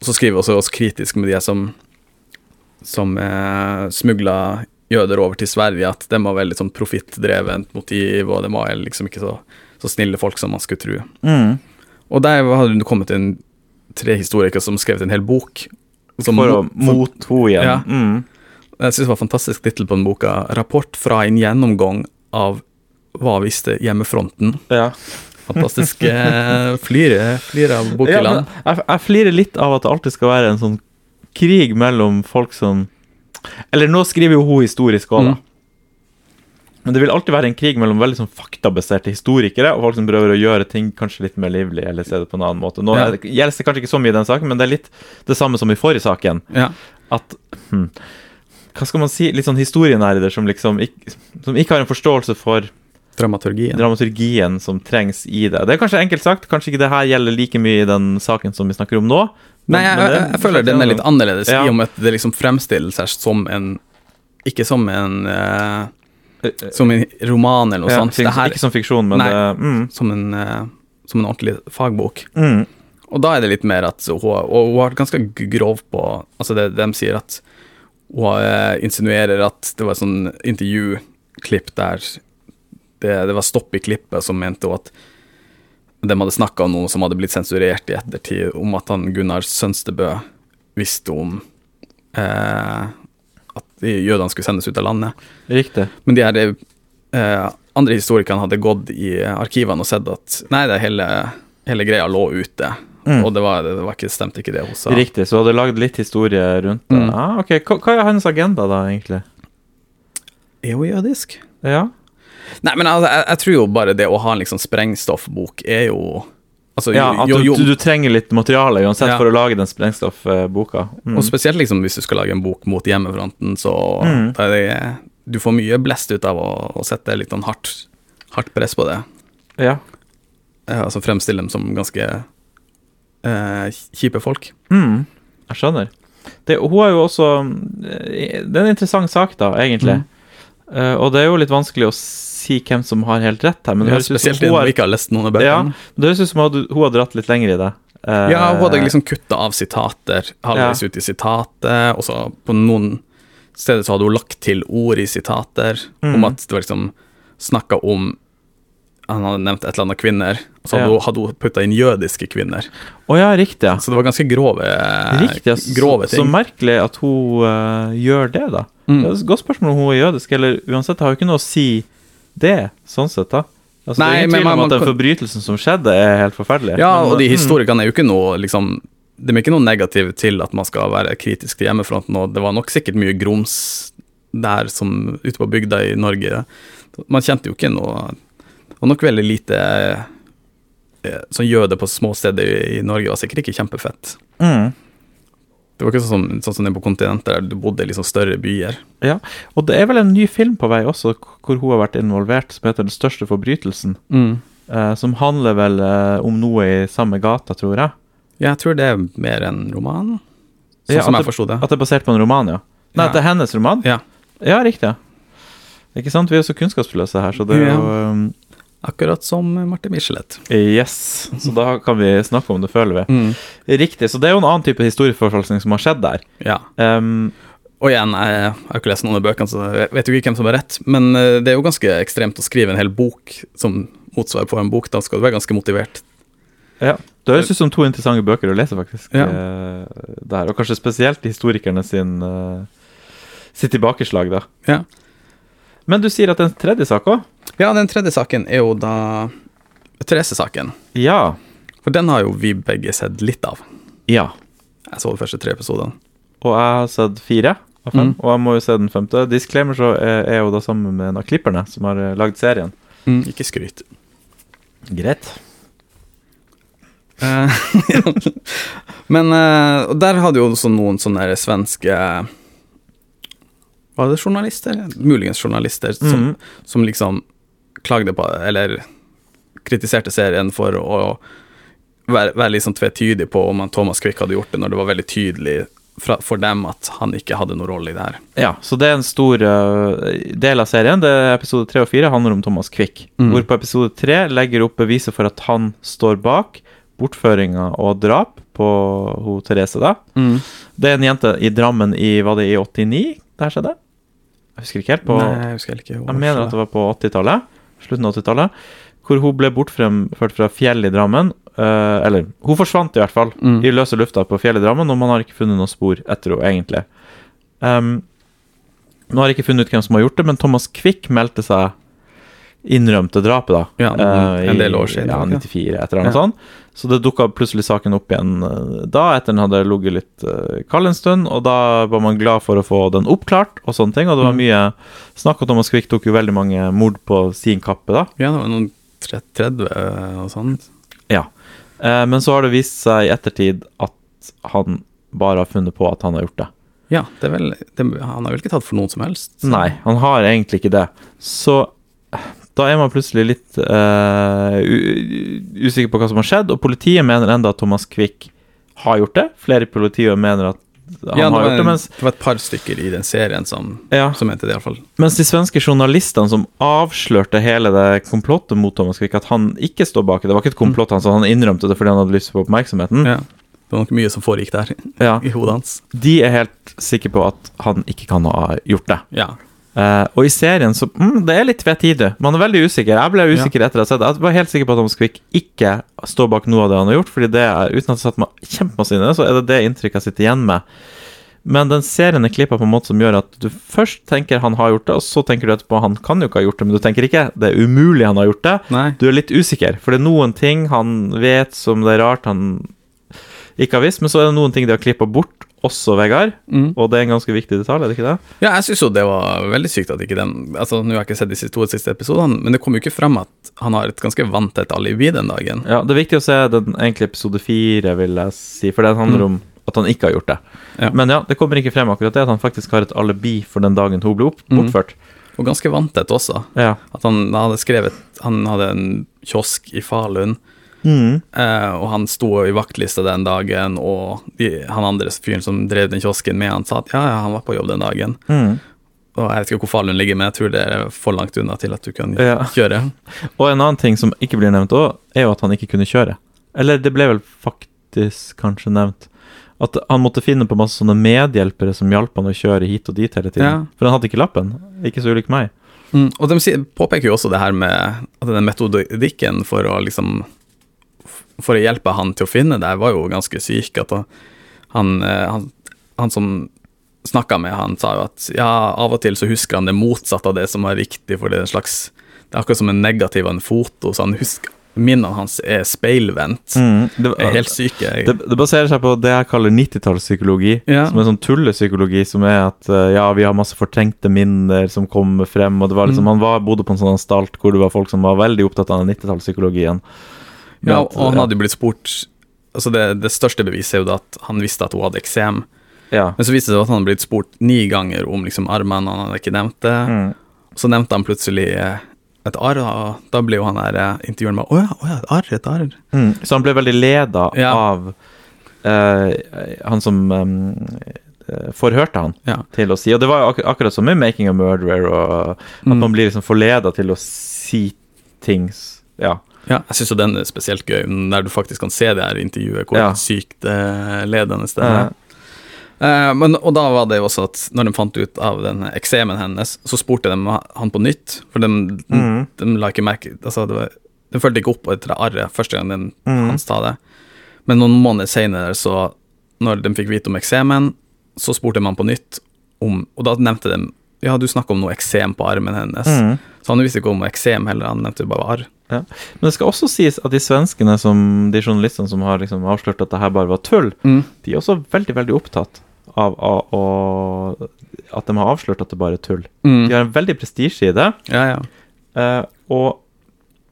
[SPEAKER 2] Og så skriver vi også oss kritisk med de som som eh, smugla jøder over til Sverige, at de var veldig sånn profittdrevent motiv, og de var liksom ikke så, så snille folk som man skulle tro.
[SPEAKER 1] Mm.
[SPEAKER 2] Og der hadde hun kommet til en tre historikere som skrev en hel bok. Som
[SPEAKER 1] For å mot
[SPEAKER 2] mot-
[SPEAKER 1] henne igjen.
[SPEAKER 2] Ja.
[SPEAKER 1] Mm.
[SPEAKER 2] Jeg synes det var en fantastisk tittel på den boka. 'Rapport fra en gjennomgang av hva visste hjemmefronten'.
[SPEAKER 1] Ja.
[SPEAKER 2] Fantastisk eh, flyre, flyre av
[SPEAKER 1] Ja,
[SPEAKER 2] bokhyllene.
[SPEAKER 1] men jeg, jeg flirer litt av at det alltid skal være en sånn krig mellom folk som Eller nå skriver jo hun historisk òg, da.
[SPEAKER 2] Mm.
[SPEAKER 1] Men det vil alltid være en krig mellom veldig sånn faktabaserte historikere og folk som prøver å gjøre ting kanskje litt mer livlig eller se det på en annen måte. Nå
[SPEAKER 2] Ja.
[SPEAKER 1] er det- gjelder det kanskje ikke så mye i den saken, men det er litt det samme som i forrige saken.
[SPEAKER 2] Ja.
[SPEAKER 1] At hm, Hva skal man si? Litt sånn historienerder som liksom ikke, som ikke har en forståelse for
[SPEAKER 2] Dramaturgien.
[SPEAKER 1] dramaturgien som trengs i det. Det er kanskje enkelt sagt, kanskje ikke det her gjelder like mye i den saken som vi snakker om nå. men-
[SPEAKER 2] Nei, jeg,
[SPEAKER 1] men
[SPEAKER 2] jeg,
[SPEAKER 1] det-
[SPEAKER 2] jeg føler den er litt annerledes,
[SPEAKER 1] Ja.
[SPEAKER 2] i og med at det liksom fremstiller seg som en Ikke som en eh, Som en roman eller noe
[SPEAKER 1] ja,
[SPEAKER 2] sånt.
[SPEAKER 1] fik-
[SPEAKER 2] Det her
[SPEAKER 1] Ikke som fiksjon, men
[SPEAKER 2] Nei.
[SPEAKER 1] det, mm,
[SPEAKER 2] som en, eh, som en ordentlig fagbok.
[SPEAKER 1] mm,
[SPEAKER 2] Og da er det litt mer at hun, og hun har vært ganske g- grov på Altså, det, de sier at hun eh, insinuerer at det var et sånn intervjuklipp der det, det var stopp i klippet som mente hun at de hadde snakka om noe som hadde blitt sensurert i ettertid, om at han Gunnar Sønstebø visste om eh, at de jødene skulle sendes ut av landet.
[SPEAKER 1] riktig.
[SPEAKER 2] Men de her eh, andre historikerne hadde gått i eh, arkivene og sett at nei, det hele, hele greia lå ute.
[SPEAKER 1] Mm.
[SPEAKER 2] Og det, var, det var ikke, stemte ikke det hun sa.
[SPEAKER 1] Riktig, så du hadde lagd litt historie rundt det.
[SPEAKER 2] Mm.
[SPEAKER 1] Ah, ok, hva, hva er hans agenda da, egentlig?
[SPEAKER 2] Er hun jødisk?
[SPEAKER 1] Ja,
[SPEAKER 2] Nei, men altså, jeg, jeg tror jo bare det å ha en liksom sprengstoffbok er jo Altså,
[SPEAKER 1] ja at
[SPEAKER 2] jo,
[SPEAKER 1] du,
[SPEAKER 2] jo,
[SPEAKER 1] du, du trenger litt materiale uansett
[SPEAKER 2] Ja.
[SPEAKER 1] for å lage den sprengstoffboka. Mm.
[SPEAKER 2] Og spesielt liksom hvis du skal lage en bok mot hjemmefronten, så
[SPEAKER 1] Mm.
[SPEAKER 2] da er det, du får mye blest ut av å, å sette litt sånn hardt, hardt press på det.
[SPEAKER 1] Mm. Ja.
[SPEAKER 2] Eh, altså fremstille dem som ganske eh, kjipe folk.
[SPEAKER 1] Mm, jeg skjønner. Det, hun har jo også eh, Det er en interessant sak, da, egentlig.
[SPEAKER 2] Mm.
[SPEAKER 1] Eh, og det er jo litt vanskelig å si hvem som har helt rett her, men det
[SPEAKER 2] Ja,
[SPEAKER 1] høres ut som
[SPEAKER 2] spesielt
[SPEAKER 1] hun
[SPEAKER 2] når
[SPEAKER 1] har,
[SPEAKER 2] vi ikke har lest noen av
[SPEAKER 1] ja,
[SPEAKER 2] bøkene.
[SPEAKER 1] det høres ut som hun hadde- hun har dratt litt lenger i det. Eh,
[SPEAKER 2] Ja, hun hadde liksom kutta av sitater, halvveis
[SPEAKER 1] Ja.
[SPEAKER 2] ut i sitatet, og så på noen steder så hadde hun lagt til ord i sitater,
[SPEAKER 1] Mm.
[SPEAKER 2] om at det var liksom snakka om Han hadde nevnt et eller annet kvinner, og så hadde
[SPEAKER 1] Ja.
[SPEAKER 2] hun, hadde hun putta inn jødiske kvinner.
[SPEAKER 1] Å ja, riktig. ja.
[SPEAKER 2] Så det var ganske grove,
[SPEAKER 1] Riktig, ja. Så,
[SPEAKER 2] grove
[SPEAKER 1] så
[SPEAKER 2] ting.
[SPEAKER 1] merkelig at hun eh, gjør det, da.
[SPEAKER 2] Mm.
[SPEAKER 1] Det er et godt spørsmål om hun er jødisk, eller uansett, det har jo ikke noe å si det, sånn sett, da. Altså, det
[SPEAKER 2] Nei,
[SPEAKER 1] er ingen
[SPEAKER 2] men
[SPEAKER 1] tvil
[SPEAKER 2] man-
[SPEAKER 1] om at
[SPEAKER 2] man
[SPEAKER 1] den
[SPEAKER 2] kan-
[SPEAKER 1] forbrytelsen som skjedde, er helt forferdelig.
[SPEAKER 2] ja,
[SPEAKER 1] men-
[SPEAKER 2] og de
[SPEAKER 1] mm.
[SPEAKER 2] historikerne er jo ikke noe liksom De er ikke noe negative til at man skal være kritisk til hjemmefronten, og det var nok sikkert mye grums der som ute på bygda i Norge. Man kjente jo ikke noe Det var nok veldig lite eh, Sånn jøde på små steder i Norge var sikkert ikke kjempefett.
[SPEAKER 1] Mm.
[SPEAKER 2] Det var ikke sånn, som- sånn som det er på kontinentet, der du bodde i liksom større byer.
[SPEAKER 1] Ja, og det er vel en ny film på vei også, k- hvor hun har vært involvert, som heter Den største forbrytelsen. eh, som handler vel eh, om noe i samme gata, tror jeg.
[SPEAKER 2] Ja, jeg tror det er mer en roman, sånn
[SPEAKER 1] Ja,
[SPEAKER 2] som
[SPEAKER 1] at
[SPEAKER 2] jeg
[SPEAKER 1] det-
[SPEAKER 2] forsto det.
[SPEAKER 1] At det er basert på en roman, ja. Nei,
[SPEAKER 2] Ja.
[SPEAKER 1] at det er hennes roman?
[SPEAKER 2] Ja.
[SPEAKER 1] Ja, riktig. Ikke sant? Vi er jo så kunnskapsløse her, så det er
[SPEAKER 2] Ja.
[SPEAKER 1] jo um,
[SPEAKER 2] Akkurat som Marte Michelet.
[SPEAKER 1] Yes. Så da kan vi snakke om det, føler vi. Riktig. Så det er jo en annen type historieforfalskning som har skjedd der.
[SPEAKER 2] Ja.
[SPEAKER 1] Um,
[SPEAKER 2] Og igjen, jeg har ikke lest noen av bøkene, så jeg vet jo ikke hvem som har rett, men eh, det er jo ganske ekstremt å skrive en hel bok som motsvar på en bok. Da skal du være ganske motivert.
[SPEAKER 1] ja. Det høres ut som to interessante bøker å lese, faktisk.
[SPEAKER 2] Ja.
[SPEAKER 1] eh, der. Og kanskje spesielt historikerne sin, eh, sitt tilbakeslag, da.
[SPEAKER 2] Ja.
[SPEAKER 1] Men du sier at det er en tredje sak òg?
[SPEAKER 2] ja, den tredje saken er jo da Therese-saken.
[SPEAKER 1] Ja.
[SPEAKER 2] For den har jo vi begge sett litt av.
[SPEAKER 1] ja.
[SPEAKER 2] Jeg så de første tre episodene.
[SPEAKER 1] Og jeg har sett fire av fem,
[SPEAKER 2] Mm.
[SPEAKER 1] og jeg må jo se den femte. Disclaimer så er er jeg jo da sammen med en av klipperne som har eh, lagd serien.
[SPEAKER 2] Ikke skryt.
[SPEAKER 1] Greit.
[SPEAKER 2] Eh, Men eh, og der hadde jo også noen sånne der svenske Var det journalister? Muligens journalister som,
[SPEAKER 1] Mhm.
[SPEAKER 2] som liksom klagde på Eller kritiserte serien for å være, være litt sånn tvetydig på om han Thomas Quick hadde gjort det, når det var veldig tydelig fra, for dem at han ikke hadde noen rolle i det her.
[SPEAKER 1] Ja, så det er en stor eh, del av serien. Det er episode tre og fire handler om Thomas Quick.
[SPEAKER 2] Mm.
[SPEAKER 1] Hvor på episode tre legger opp beviset for at han står bak bortføringa og drap på ho Therese, da.
[SPEAKER 2] Mm.
[SPEAKER 1] Det er en jente i Drammen i var det i 89 det her skjedde? Jeg husker ikke helt. på...
[SPEAKER 2] Nei, jeg husker ikke.
[SPEAKER 1] Jeg mener at det var på 80-tallet, slutten av 80-tallet, hvor hun ble bortført fra Fjell i Drammen eh, Eller, hun forsvant i hvert fall
[SPEAKER 2] Mm.
[SPEAKER 1] i løse lufta på fjellet i Drammen, og man har ikke funnet noen spor etter henne, egentlig. Ehm, nå har jeg ikke funnet ut hvem som har gjort det, men Thomas Quick meldte seg innrømte drapet, da.
[SPEAKER 2] Ja,
[SPEAKER 1] eh,
[SPEAKER 2] en
[SPEAKER 1] i-
[SPEAKER 2] del år siden,
[SPEAKER 1] Ja,
[SPEAKER 2] nok, ja.
[SPEAKER 1] 94, et eller annet
[SPEAKER 2] Ja.
[SPEAKER 1] sånt. Så det dukka plutselig saken opp igjen eh, da, etter den hadde ligget litt eh, kald en stund, og da var man glad for å få den oppklart, og sånne ting, og det var
[SPEAKER 2] Mm.
[SPEAKER 1] mye snakk, og Thomas Quick tok jo veldig mange mord på sin kappe, da.
[SPEAKER 2] Ja, det var noen tre- 30 og sånn.
[SPEAKER 1] Ja. Eh, men så har det vist seg i ettertid at han bare har funnet på at han har gjort det.
[SPEAKER 2] Ja, det er vel, det, han er vel ikke tatt for noen som helst? så-
[SPEAKER 1] Nei, han har egentlig ikke det. Så eh, da er man plutselig litt eh, u- u- usikker på hva som har skjedd, og politiet mener enda at Thomas Quick har gjort det. Flere i politiet mener at han
[SPEAKER 2] Ja,
[SPEAKER 1] har
[SPEAKER 2] det, var,
[SPEAKER 1] gjort det,
[SPEAKER 2] en,
[SPEAKER 1] mens,
[SPEAKER 2] det var et par stykker i den serien som,
[SPEAKER 1] ja,
[SPEAKER 2] som mente det, iallfall.
[SPEAKER 1] mens de svenske journalistene som avslørte hele det komplottet mot Thomas Quick, at han ikke står bak det, det var ikke et komplott, altså. han, så han innrømte det fordi han hadde lyst på oppmerksomheten,
[SPEAKER 2] Mm. Ja. Det var nok mye som foregikk der,
[SPEAKER 1] Mm. Ja.
[SPEAKER 2] i hodet hans.
[SPEAKER 1] de er helt sikre på at han ikke kan ha gjort det.
[SPEAKER 2] Ja.
[SPEAKER 1] Eh, og i serien så mm, Det er litt vettide. Man er veldig usikker. Jeg ble usikker etter å ha sett det. Jeg var helt sikker på at Thomas Quick ikke står bak noe av det han har gjort, Fordi det er, uten at jeg satt meg kjempemasse inn i det, så er det det inntrykket jeg sitter igjen med. Men den serien er klippa på en måte som gjør at du først tenker han har gjort det, og så tenker du etterpå han kan jo ikke ha gjort det, men du tenker ikke det er umulig han har gjort det.
[SPEAKER 2] Nei.
[SPEAKER 1] Du er litt usikker, for det er noen ting han vet som det er rart han ikke har visst, men så er det noen ting de har klippa bort, også Vegard,
[SPEAKER 2] Mm.
[SPEAKER 1] og det er en ganske viktig detalj, er det ikke det?
[SPEAKER 2] Ja, jeg syns jo det var veldig sykt at ikke den Altså, Nå har jeg ikke sett de siste- to siste episodene, men det kom jo ikke frem at han har et ganske vanntett alibi den dagen.
[SPEAKER 1] Ja, det er viktig å se den egentlig episode fire, vil jeg si, for den handler om at han ikke har gjort det.
[SPEAKER 2] Ja.
[SPEAKER 1] Men Mm. ja, det kommer ikke frem akkurat det, at han faktisk har et alibi for den dagen hun ble opp,
[SPEAKER 2] Mm.
[SPEAKER 1] bortført.
[SPEAKER 2] Og ganske vanntett også.
[SPEAKER 1] Ja.
[SPEAKER 2] At han hadde skrevet Han hadde en kiosk i Falun,
[SPEAKER 1] Mm.
[SPEAKER 2] eh, og han sto i vaktlista den dagen, og de, han andre fyren som drev den kiosken med, han sa at ja, ja, han var på jobb den dagen.
[SPEAKER 1] Mm.
[SPEAKER 2] Og jeg vet ikke hvor Falun ligger, men jeg tror det er for langt unna til at du kan
[SPEAKER 1] Ja.
[SPEAKER 2] kjøre.
[SPEAKER 1] Og en annen ting som ikke blir nevnt òg, er jo at han ikke kunne kjøre. Eller det ble vel faktisk kanskje nevnt. At han måtte finne på masse sånne medhjelpere som hjalp han å kjøre hit og dit hele tiden.
[SPEAKER 2] Ja.
[SPEAKER 1] For han hadde ikke lappen. Ikke så ulik meg.
[SPEAKER 2] Mm, og de sier- påpeker jo også det her med at den metodikken for å liksom For å hjelpe han til å finne det, var jo ganske syk. At han, eh, han, han som snakka med han, sa jo at ja, av og til så husker han det motsatte av det som er riktig, for det er en slags Det er akkurat som en negativ av en foto, så han husker Minnene hans er speilvendt.
[SPEAKER 1] Det,
[SPEAKER 2] Er helt syke.
[SPEAKER 1] Mm. Det, det baserer seg på det jeg kaller 90-tallspsykologi,
[SPEAKER 2] Ja.
[SPEAKER 1] som er sånn tullepsykologi, som er at eh, ja, vi har masse fortrengte minner som kommer frem, og det var liksom,
[SPEAKER 2] Mm.
[SPEAKER 1] han var, bodde på en sånn anstalt hvor det var folk som var veldig opptatt av den 90-tallspsykologien. Men
[SPEAKER 2] Ja, og
[SPEAKER 1] at-
[SPEAKER 2] han hadde jo blitt spurt Altså, det, det største beviset er jo da at han visste at hun hadde eksem.
[SPEAKER 1] ja.
[SPEAKER 2] Men så viste det seg at han hadde blitt spurt ni ganger om liksom armene, han hadde ikke nevnt det.
[SPEAKER 1] Mm.
[SPEAKER 2] Så nevnte han plutselig eh, et arr, og da ble jo han der eh, intervjueren med Å ja, å ja, et arr, et arr.
[SPEAKER 1] Mm. Så han ble veldig leda
[SPEAKER 2] Ja.
[SPEAKER 1] av eh, han som eh, forhørte han
[SPEAKER 2] Ja.
[SPEAKER 1] til å si, og det var jo ak akkurat som i 'Making a Murderer', og at
[SPEAKER 2] Mm.
[SPEAKER 1] man blir liksom forleda til å si ting s- Ja.
[SPEAKER 2] ja. Jeg syns jo den er spesielt gøy, der du faktisk kan se det her intervjuet, hvor
[SPEAKER 1] Ja.
[SPEAKER 2] sykt eh, ledende det
[SPEAKER 1] Mm.
[SPEAKER 2] er. Eh, men, og da var det jo også at når de fant ut av den eksemen hennes, så spurte de han på nytt, for de,
[SPEAKER 1] Mm.
[SPEAKER 2] de la ikke merke altså, det var, De fulgte ikke opp etter det arret første gang den,
[SPEAKER 1] Mm.
[SPEAKER 2] han sa det. Men noen måneder senere, så når de fikk vite om eksemen, så spurte man på nytt om Og da nevnte de Ja, du snakka om noe eksem på armen hennes.
[SPEAKER 1] Mm.
[SPEAKER 2] Så han visste ikke om eksem heller, han nevnte bare arr.
[SPEAKER 1] Men det skal også sies at de svenskene, som, de journalistene som har liksom avslørt at det her bare var tull,
[SPEAKER 2] Mm.
[SPEAKER 1] de er også veldig, veldig opptatt av, av, å- at de har avslørt at det bare er tull.
[SPEAKER 2] Mm.
[SPEAKER 1] De har en veldig prestisje i det,
[SPEAKER 2] Ja, ja.
[SPEAKER 1] eh, og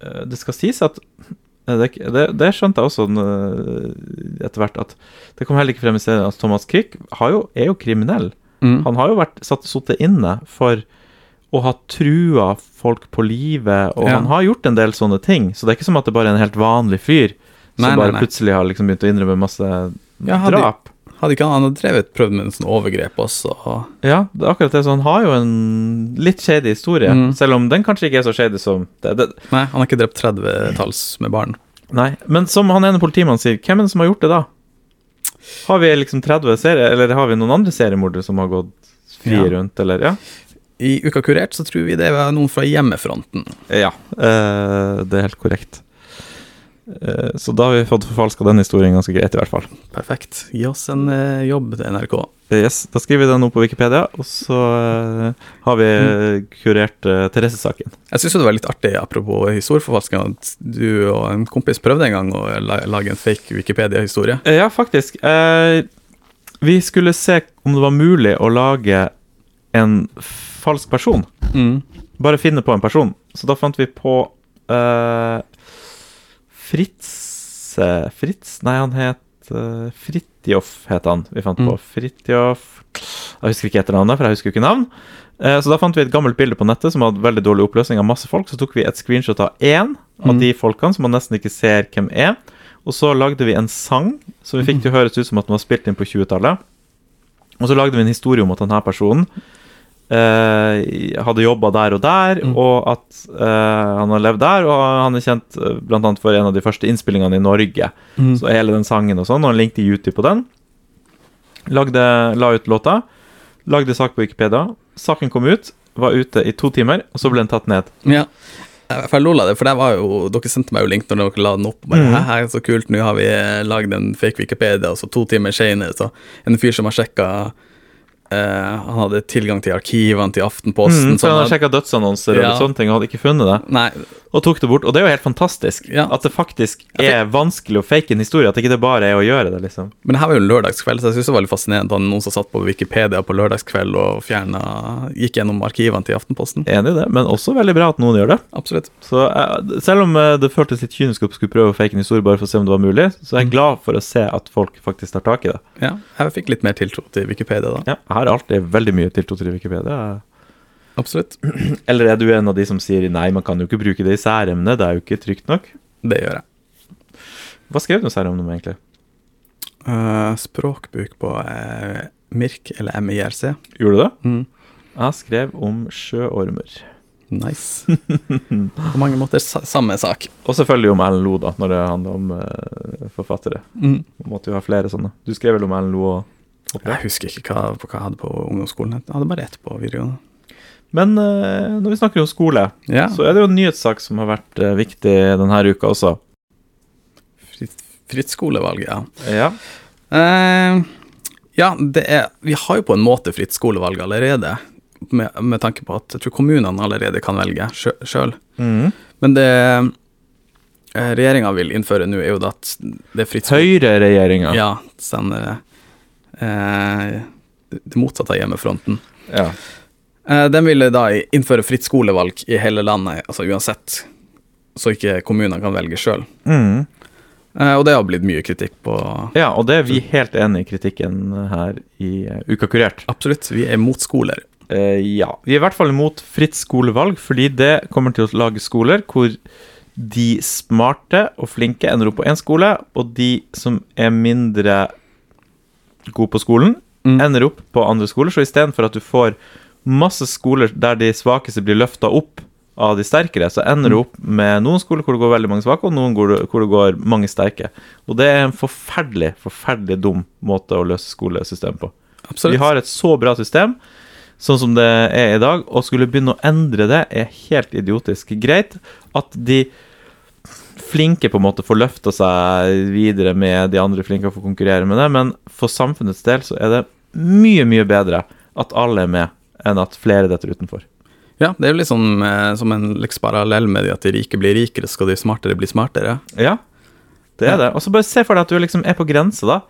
[SPEAKER 1] eh, det skal sies at eh, det, det, det skjønte jeg også eh, etter hvert, at det kom heller ikke frem i serien at Thomas Quick har jo, er jo kriminell.
[SPEAKER 2] Mm.
[SPEAKER 1] Han har jo vært satt sittet inne for å ha trua folk på livet, og
[SPEAKER 2] Ja.
[SPEAKER 1] han har gjort en del sånne ting. Så det er ikke som at det bare er en helt vanlig fyr som
[SPEAKER 2] Nei, nei,
[SPEAKER 1] bare
[SPEAKER 2] nei.
[SPEAKER 1] plutselig har liksom begynt å innrømme masse
[SPEAKER 2] Ja, hadde-
[SPEAKER 1] drap.
[SPEAKER 2] Hadde ikke han, han hadde drevet prøvd med en sånn overgrep også. Og,
[SPEAKER 1] Ja, det er akkurat det. Så han har jo en litt shady historie,
[SPEAKER 2] Mm.
[SPEAKER 1] selv om den kanskje ikke er så shady som det, det.
[SPEAKER 2] nei, han har ikke drept 30-talls med barn.
[SPEAKER 1] Nei, men som han ene politimannen sier, hvem er det som har gjort det da? Har vi liksom 30 serier, eller har vi noen andre seriemordere som har gått frie
[SPEAKER 2] Ja.
[SPEAKER 1] rundt, eller? Ja.
[SPEAKER 2] I Uka kurert så tror vi det var noen fra hjemmefronten.
[SPEAKER 1] Ja, eh, det er helt korrekt. Eh, Så da har vi fått forfalska den historien ganske greit, i hvert fall.
[SPEAKER 2] Perfekt. Gi oss en eh, jobb til NRK.
[SPEAKER 1] Eh, Yes, Da skriver vi den opp på Wikipedia, og så eh, har vi eh, kurert eh, Therese-saken.
[SPEAKER 2] Jeg syns det var litt artig, apropos historieforfalskning, at du og en kompis prøvde en gang å la- lage en fake Wikipedia-historie.
[SPEAKER 1] Eh, Ja, faktisk. Eh, Vi skulle se om det var mulig å lage en falsk person. Mm. Bare finne på en person. Så da fant vi på eh, Fritze Fritz? Nei, han het uh, Fridtjof, het han. Vi fant på
[SPEAKER 2] Mm.
[SPEAKER 1] Fridtjof Jeg husker ikke etternavnet, for jeg husker jo ikke navn. Eh, så da fant vi et gammelt bilde på nettet som hadde veldig dårlig oppløsning av masse folk. Så tok vi et screenshot av én av
[SPEAKER 2] Mm.
[SPEAKER 1] de folkene som man nesten ikke ser hvem er. Og så lagde vi en sang som vi
[SPEAKER 2] Mm.
[SPEAKER 1] fikk til å høres ut som at den var spilt inn på 20-tallet. Og så lagde vi en historie om at denne personen eh, hadde jobba der og der,
[SPEAKER 2] Mm.
[SPEAKER 1] og at eh, han har levd der, og han er kjent eh, blant annet for en av de første innspillingene i Norge. Så hele den sangen og sånn, og han linkte YouTube på den. Lagde, la ut låta. Lagde sak på Wikipedia. Saken kom ut, var ute i to timer, og så ble den tatt ned.
[SPEAKER 2] Ja. Jeg- For jeg lo av det, for det var jo, dere sendte meg jo link når dere la den opp. og Bare,
[SPEAKER 1] Mhm.
[SPEAKER 2] Hæ, hæ, så kult, nå har vi eh, lagd en fake Wikipedia, og så to timer senere, så en fyr som har sjekka eh, Han hadde tilgang til arkivene til Aftenposten.
[SPEAKER 1] Mm, for
[SPEAKER 2] så
[SPEAKER 1] han har
[SPEAKER 2] han hadde,
[SPEAKER 1] sjekka dødsannonser og
[SPEAKER 2] Ja.
[SPEAKER 1] litt sånne ting, og hadde ikke funnet det.
[SPEAKER 2] nei,
[SPEAKER 1] Og tok det bort. Og det er jo helt fantastisk
[SPEAKER 2] Ja.
[SPEAKER 1] at det faktisk
[SPEAKER 2] Jeg
[SPEAKER 1] er vanskelig å fake en historie. At ikke det bare er å gjøre det, liksom.
[SPEAKER 2] men det her var jo en lørdagskveld, så jeg synes det var litt fascinerende at noen som satt på Wikipedia på lørdagskveld og fjernet, gikk gjennom arkivene til Aftenposten.
[SPEAKER 1] Enig i det, men også veldig bra at noen gjør det.
[SPEAKER 2] Absolutt.
[SPEAKER 1] Så jeg, selv om eh, det føltes litt kynisk å skulle prøve å fake en historie bare for å se om det var mulig, så er jeg glad for å se at folk faktisk tar tak i det.
[SPEAKER 2] Ja, jeg fikk litt mer tiltro til Wikipedia da.
[SPEAKER 1] Ja, jeg har alltid veldig mye tiltro til Wikipedia.
[SPEAKER 2] Absolutt.
[SPEAKER 1] Eller er du en av de som sier nei, man kan jo ikke bruke det i særemne, det er jo ikke trygt nok?
[SPEAKER 2] Det gjør jeg.
[SPEAKER 1] Hva skrev du særemne om, egentlig?
[SPEAKER 2] Eh, språkbruk på eh, MIRK eller MIRC.
[SPEAKER 1] Gjorde du det?
[SPEAKER 2] Mm.
[SPEAKER 1] Jeg skrev om sjøormer.
[SPEAKER 2] Nice. På mange måter sa samme sak.
[SPEAKER 1] Og selvfølgelig om Ellen Lo, da, når det handler om eh, forfattere. Man måtte jo ha flere sånne. Du skrev vel om Ellen Lo og
[SPEAKER 2] Mm. Jeg husker ikke hva, på hva jeg hadde på ungdomsskolen. Jeg hadde bare ett på videregående.
[SPEAKER 1] Men eh, når vi snakker om skole,
[SPEAKER 2] Ja.
[SPEAKER 1] så er det jo en nyhetssak som har vært eh, viktig denne uka også.
[SPEAKER 2] Fritt, fritt skolevalg, ja.
[SPEAKER 1] Ja.
[SPEAKER 2] Eh, ja, det er Vi har jo på en måte fritt skolevalg allerede, med, med tanke på at jeg tror kommunene allerede kan velge sjø- sjøl.
[SPEAKER 1] Mm.
[SPEAKER 2] Men det regjeringa vil innføre nå, er jo da at det er fritt skole-
[SPEAKER 1] Høyreregjeringa.
[SPEAKER 2] Ja, stemmer det. Eh, det motsatte av hjemmefronten.
[SPEAKER 1] Ja.
[SPEAKER 2] Eh, den ville da innføre fritt skolevalg i hele landet, altså uansett, så ikke kommunene kan velge sjøl.
[SPEAKER 1] Mm.
[SPEAKER 2] Eh, og det har blitt mye kritikk på.
[SPEAKER 1] ja, og det er vi helt enig i kritikken her i eh, Uka kurert.
[SPEAKER 2] Absolutt, vi er mot skoler.
[SPEAKER 1] Eh, ja. Vi er i hvert fall imot fritt skolevalg, fordi det kommer til å lage skoler hvor de smarte og flinke ender opp på én skole, og de som er mindre gode på skolen, ender opp på andre skoler. Så istedenfor at du får masse skoler der de svakeste blir løfta opp av de sterkere, så ender du opp med noen skoler hvor det går veldig mange svake, og noen hvor det, hvor det går mange sterke. Og det er en forferdelig, forferdelig dum måte å løse skolesystemet på.
[SPEAKER 2] Absolutt.
[SPEAKER 1] Vi har et så bra system, sånn som det er i dag, og skulle begynne å endre det er helt idiotisk. Greit at de flinke på en måte får løfta seg videre med de andre flinke og får konkurrere med det, men for samfunnets del så er det mye, mye bedre at alle er med, enn at flere detter utenfor.
[SPEAKER 2] Ja, det er jo litt sånn eh, som en liksom parallell med det at de rike blir rikere, skal de smartere bli smartere.
[SPEAKER 1] Ja, det er det. Og så bare se for deg at du liksom er på grense, da.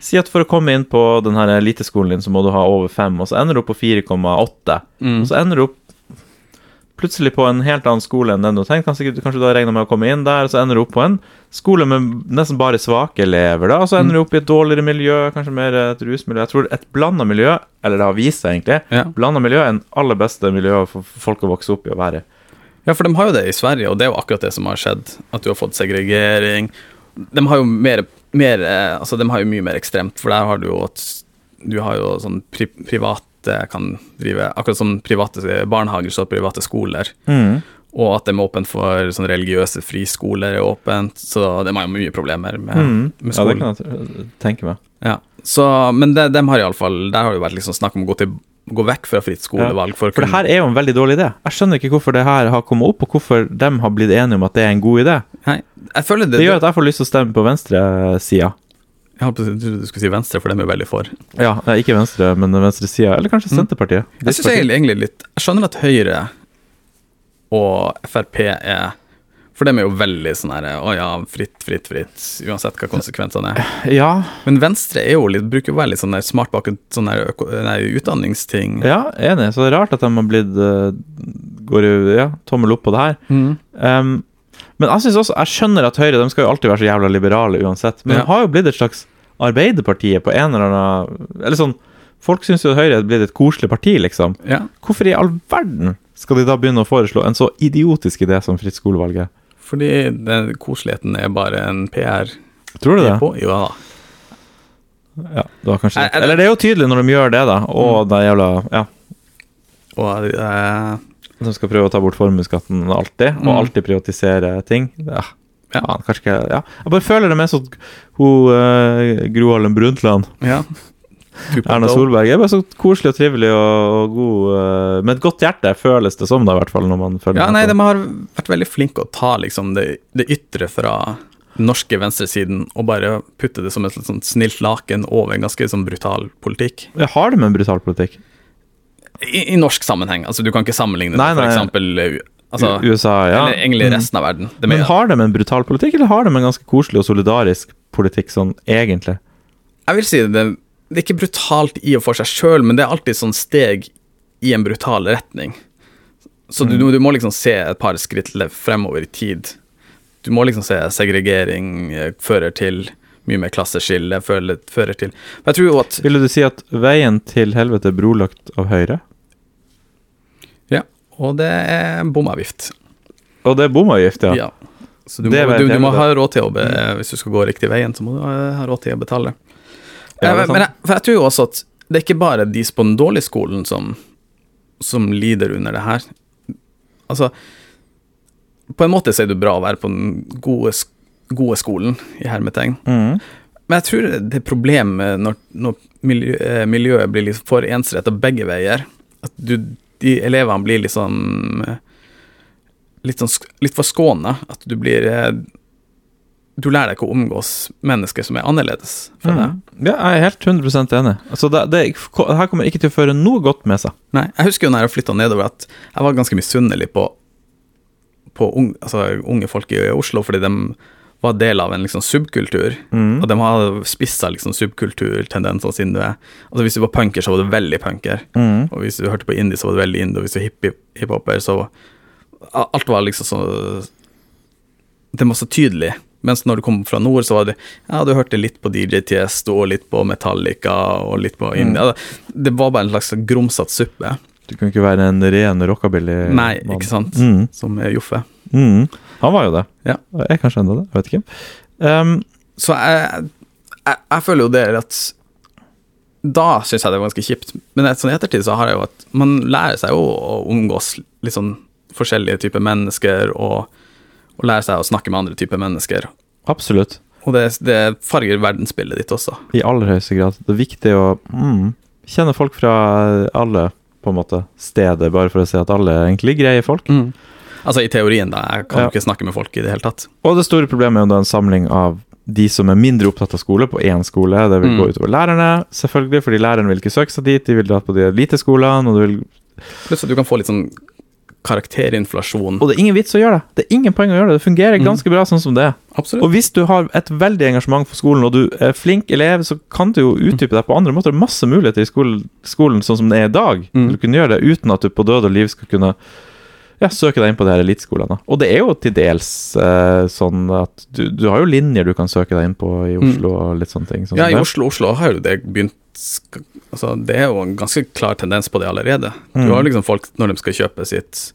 [SPEAKER 1] Si at for å komme inn på den her eliteskolen din, så må du ha over 5, og så ender du opp på 4,8.
[SPEAKER 2] Mm.
[SPEAKER 1] Og så ender du opp plutselig på en helt annen skole enn den du tenkte. Kanskje, kanskje du har regna med å komme inn der, og så ender du opp på en skole med nesten bare svake elever. da, Og så ender du opp i et dårligere miljø, kanskje mer et rusmiljø. Jeg tror et blanda miljø, eller det har vist seg egentlig,
[SPEAKER 2] Ja.
[SPEAKER 1] blanda miljø er den aller beste miljøet for folk å vokse opp i å være i.
[SPEAKER 2] ja, for de har jo det i Sverige, og det er jo akkurat det som har skjedd. At du har fått segregering. De har jo mer, mer eh, Altså, de har jo mye mer ekstremt, for der har du jo at Du har jo sånn pri private kan drive Akkurat som private eh, barnehager, så har private skoler.
[SPEAKER 1] Mm.
[SPEAKER 2] Og at de er åpne for sånn religiøse friskoler er åpent, så de har jo mye problemer med, med
[SPEAKER 1] Mm. Ja, det
[SPEAKER 2] skolen.
[SPEAKER 1] kan jeg tenke meg.
[SPEAKER 2] Ja, så, men de, dem har i alle fall, der har det jo vært liksom snakk om å gå, til, gå vekk fra fritt skolevalg. For, å
[SPEAKER 1] For det
[SPEAKER 2] kunne-
[SPEAKER 1] her er jo en veldig dårlig idé. Jeg skjønner ikke hvorfor det her har kommet opp, og hvorfor de har blitt enige om at det er en god idé.
[SPEAKER 2] Nei, Jeg føler det,
[SPEAKER 1] Det gjør at jeg får lyst til å stemme på venstresida.
[SPEAKER 2] Jeg holdt på å si- jeg trodde du skulle si venstre, for dem er veldig for.
[SPEAKER 1] Ja, nei, ikke venstre, men venstresida. Eller kanskje Senterpartiet.
[SPEAKER 2] Jeg synes egentlig egentlig litt Jeg skjønner at Høyre og Frp er For dem er jo veldig sånn her Å ja, fritt, fritt, fritt, uansett hva konsekvensene er.
[SPEAKER 1] Ja,
[SPEAKER 2] Men Venstre er jo litt, bruker jo være litt sånn der smart bak en sånn der øko- nei, utdanningsting.
[SPEAKER 1] ja, enig. Så det er rart at de har blitt eh, Går jo ja, tommel opp på det her.
[SPEAKER 2] Mm.
[SPEAKER 1] Ehm, men jeg synes også, jeg skjønner at Høyre de skal jo alltid være så jævla liberale uansett. Men
[SPEAKER 2] Ja.
[SPEAKER 1] det har jo blitt et slags Arbeiderpartiet på en eller annen Eller sånn Folk syns jo at Høyre er blitt et koselig parti, liksom.
[SPEAKER 2] Ja.
[SPEAKER 1] Hvorfor i all verden skal de da begynne å foreslå en så idiotisk idé som fritt skolevalg er?
[SPEAKER 2] Fordi den koseligheten er bare en PR.
[SPEAKER 1] Tror du det?
[SPEAKER 2] På. Jo da.
[SPEAKER 1] Ja, det var kanskje
[SPEAKER 2] Er- er det-
[SPEAKER 1] Eller det er jo tydelig når de gjør det, da. Og det jævla Ja.
[SPEAKER 2] Og eh,
[SPEAKER 1] De skal prøve å ta bort formuesskatten alltid, og
[SPEAKER 2] Mm.
[SPEAKER 1] alltid privatisere ting. Ja.
[SPEAKER 2] Ja.
[SPEAKER 1] Ja, kanskje ikke ja. Jeg bare føler det mer sånn hun eh, Gro Harlem Brundtland,
[SPEAKER 2] ja.
[SPEAKER 1] Erna Solberg, er bare så koselig og trivelig og, og god eh, Med et godt hjerte, føles det som, da, i hvert fall, når man følger
[SPEAKER 2] Ja,
[SPEAKER 1] med
[SPEAKER 2] nei,
[SPEAKER 1] på
[SPEAKER 2] de har vært veldig flinke å ta liksom det, det ytre fra den norske venstresiden og bare putte det som et litt sånn snilt laken over en ganske sånn brutal politikk.
[SPEAKER 1] det. Har de en brutal politikk?
[SPEAKER 2] I, i norsk sammenheng, altså du kan ikke sammenligne
[SPEAKER 1] Nei, nei.
[SPEAKER 2] det for eksempel eh, altså,
[SPEAKER 1] U- USA, ja. Mm.
[SPEAKER 2] eller egentlig resten av verden. Det
[SPEAKER 1] Men
[SPEAKER 2] mener jeg.
[SPEAKER 1] har de en brutal politikk, eller har de en ganske koselig og solidarisk politikk, sånn egentlig?
[SPEAKER 2] Jeg vil si det, det er ikke brutalt i og for seg sjøl, men det er alltid sånn steg i en brutal retning. Så du, du må liksom se et par skritt le- fremover i tid. Du må liksom se segregering eh, fører til mye mer klasseskille, fører, fører til Men Jeg tror jo at
[SPEAKER 1] Ville du si at veien til helvete er brolagt av Høyre?
[SPEAKER 2] Ja, og det er bomavgift.
[SPEAKER 1] Og det er bomavgift, ja.
[SPEAKER 2] Ja. Så du må,
[SPEAKER 1] Det vet
[SPEAKER 2] du, du
[SPEAKER 1] jeg,
[SPEAKER 2] må
[SPEAKER 1] men
[SPEAKER 2] ha råd til å be, Hvis du skal gå riktig veien, så må du ha ha råd til å betale.
[SPEAKER 1] Ja, det er
[SPEAKER 2] Eh, men jeg, for jeg tror jo også at det er ikke bare de på den dårlige skolen som, som lider under det her. Altså, på en måte så er det bra å være på den gode, sk- gode skolen, i hermetegn.
[SPEAKER 1] Mhm.
[SPEAKER 2] Men jeg tror det er problemet når, når miljø, eh, miljøet blir liksom for ensrettet begge veier. At du, de elevene blir liksom eh, litt, sånn, sk- litt for skåna. At du blir eh, Du lærer deg ikke å omgås mennesker som er annerledes fra deg.
[SPEAKER 1] Mm. Ja, jeg er helt 100 enig. Altså, det, det, det her kommer ikke til å føre noe godt med seg.
[SPEAKER 2] Nei, jeg husker jo når jeg flytta nedover at jeg var ganske misunnelig på, på unge, altså, unge folk i Oslo, fordi de var del av en liksom subkultur.
[SPEAKER 1] Mm.
[SPEAKER 2] Og de hadde spissa liksom subkulturtendensene sine. Altså Hvis du var punker, så var du veldig punker.
[SPEAKER 1] Mm.
[SPEAKER 2] Og hvis du hørte på indie, så var du veldig indie. Og hvis du var hippie- hiphoper, så a- Alt var liksom så Det var så tydelig. Mens når du kom fra nord, så var det Ja, du hørte litt på DJ Tiesto, og litt på Metallica, og litt på indie. Altså, Det var bare en slags grumsete suppe.
[SPEAKER 1] Du kunne ikke være en ren rockabilly.
[SPEAKER 2] Nei, ikke sant?
[SPEAKER 1] Mm.
[SPEAKER 2] Som er Joffe.
[SPEAKER 1] Mm. Han var jo det.
[SPEAKER 2] Ja.
[SPEAKER 1] Og Jeg er kanskje enda det, jeg vet ikke. Ehm,
[SPEAKER 2] Så jeg, jeg, jeg føler jo det at Da syns jeg det var ganske kjipt, men et sånn i ettertid så har jeg jo at man lærer seg jo å omgås litt sånn forskjellige typer mennesker, og, og lærer seg å snakke med andre typer mennesker.
[SPEAKER 1] absolutt.
[SPEAKER 2] Og det, det farger verdensbildet ditt også.
[SPEAKER 1] I aller høyeste grad. Det er viktig å mm, kjenne folk fra alle på en måte, steder, bare for å se at alle er egentlig greie folk.
[SPEAKER 2] Altså i teorien, da. Jeg kan jo
[SPEAKER 1] Mm. Ja.
[SPEAKER 2] ikke snakke med folk i det hele tatt.
[SPEAKER 1] Og det store problemet er jo da en samling av de som er mindre opptatt av skole, på én skole. Det vil
[SPEAKER 2] Mm.
[SPEAKER 1] gå utover lærerne, selvfølgelig, fordi lærerne vil ikke søke seg dit. De vil dra på de lite skolene, og, det vil...
[SPEAKER 2] Pluss at du kan få litt sånn karakterinflasjon.
[SPEAKER 1] og det er ingen vits å gjøre det. Det er ingen poeng å gjøre det. Det fungerer ganske bra sånn som det er.
[SPEAKER 2] Absolutt.
[SPEAKER 1] Og hvis du har et veldig engasjement for skolen, og du er flink elev, så kan du jo utdype deg på andre måter. Det er Masse muligheter i skolen, skolen sånn som den er i dag.
[SPEAKER 2] Mm.
[SPEAKER 1] Du kan gjøre det uten at du på død og liv skal kunne ja, søke deg inn på de her eliteskolene. Og det er jo til dels eh, sånn at du, du har jo linjer du kan søke deg inn på i Oslo og litt sånne ting. Sånn
[SPEAKER 2] Ja,
[SPEAKER 1] som
[SPEAKER 2] i
[SPEAKER 1] det.
[SPEAKER 2] Oslo, Oslo har jo det begynt sk- altså, Det er jo en ganske klar tendens på det allerede. Du har liksom folk, når de skal kjøpe sitt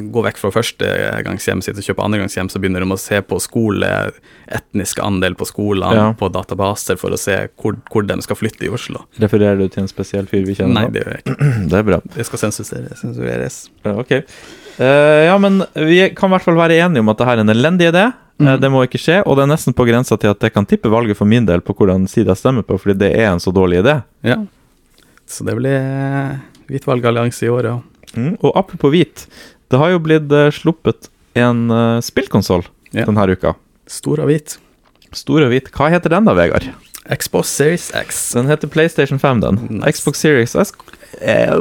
[SPEAKER 2] Gå vekk fra førstegangshjemmet sitt og kjøpe andregangshjem, så begynner de å se på skole, etnisk andel på skolene,
[SPEAKER 1] Ja.
[SPEAKER 2] på databaser, for å se hvor, hvor de skal flytte i Oslo.
[SPEAKER 1] Refererer du til en spesiell fyr vi kjenner?
[SPEAKER 2] Nei,
[SPEAKER 1] nå?
[SPEAKER 2] det gjør jeg ikke.
[SPEAKER 1] det er bra.
[SPEAKER 2] Det skal sensureres. sensureres.
[SPEAKER 1] Ja, Ok. Eh, ja, men vi kan i hvert fall være enige om at det her er en elendig idé. Eh, Det må ikke skje, og det er nesten på grensa til at det kan tippe valget for min del på hvordan side jeg stemmer på, fordi det er en så dårlig idé.
[SPEAKER 2] Ja. Så det blir eh, hvit valgallianse i året.
[SPEAKER 1] Mhm. Og apropos hvit, det har jo blitt eh, sluppet en uh, spillkonsoll
[SPEAKER 2] Ja.
[SPEAKER 1] denne uka.
[SPEAKER 2] Stor og hvit.
[SPEAKER 1] Stor og hvit. Hva heter den da, Vegard?
[SPEAKER 2] Xbox Series X.
[SPEAKER 1] Den heter PlayStation 5, den.
[SPEAKER 2] Nice.
[SPEAKER 1] Xbox Series S eh,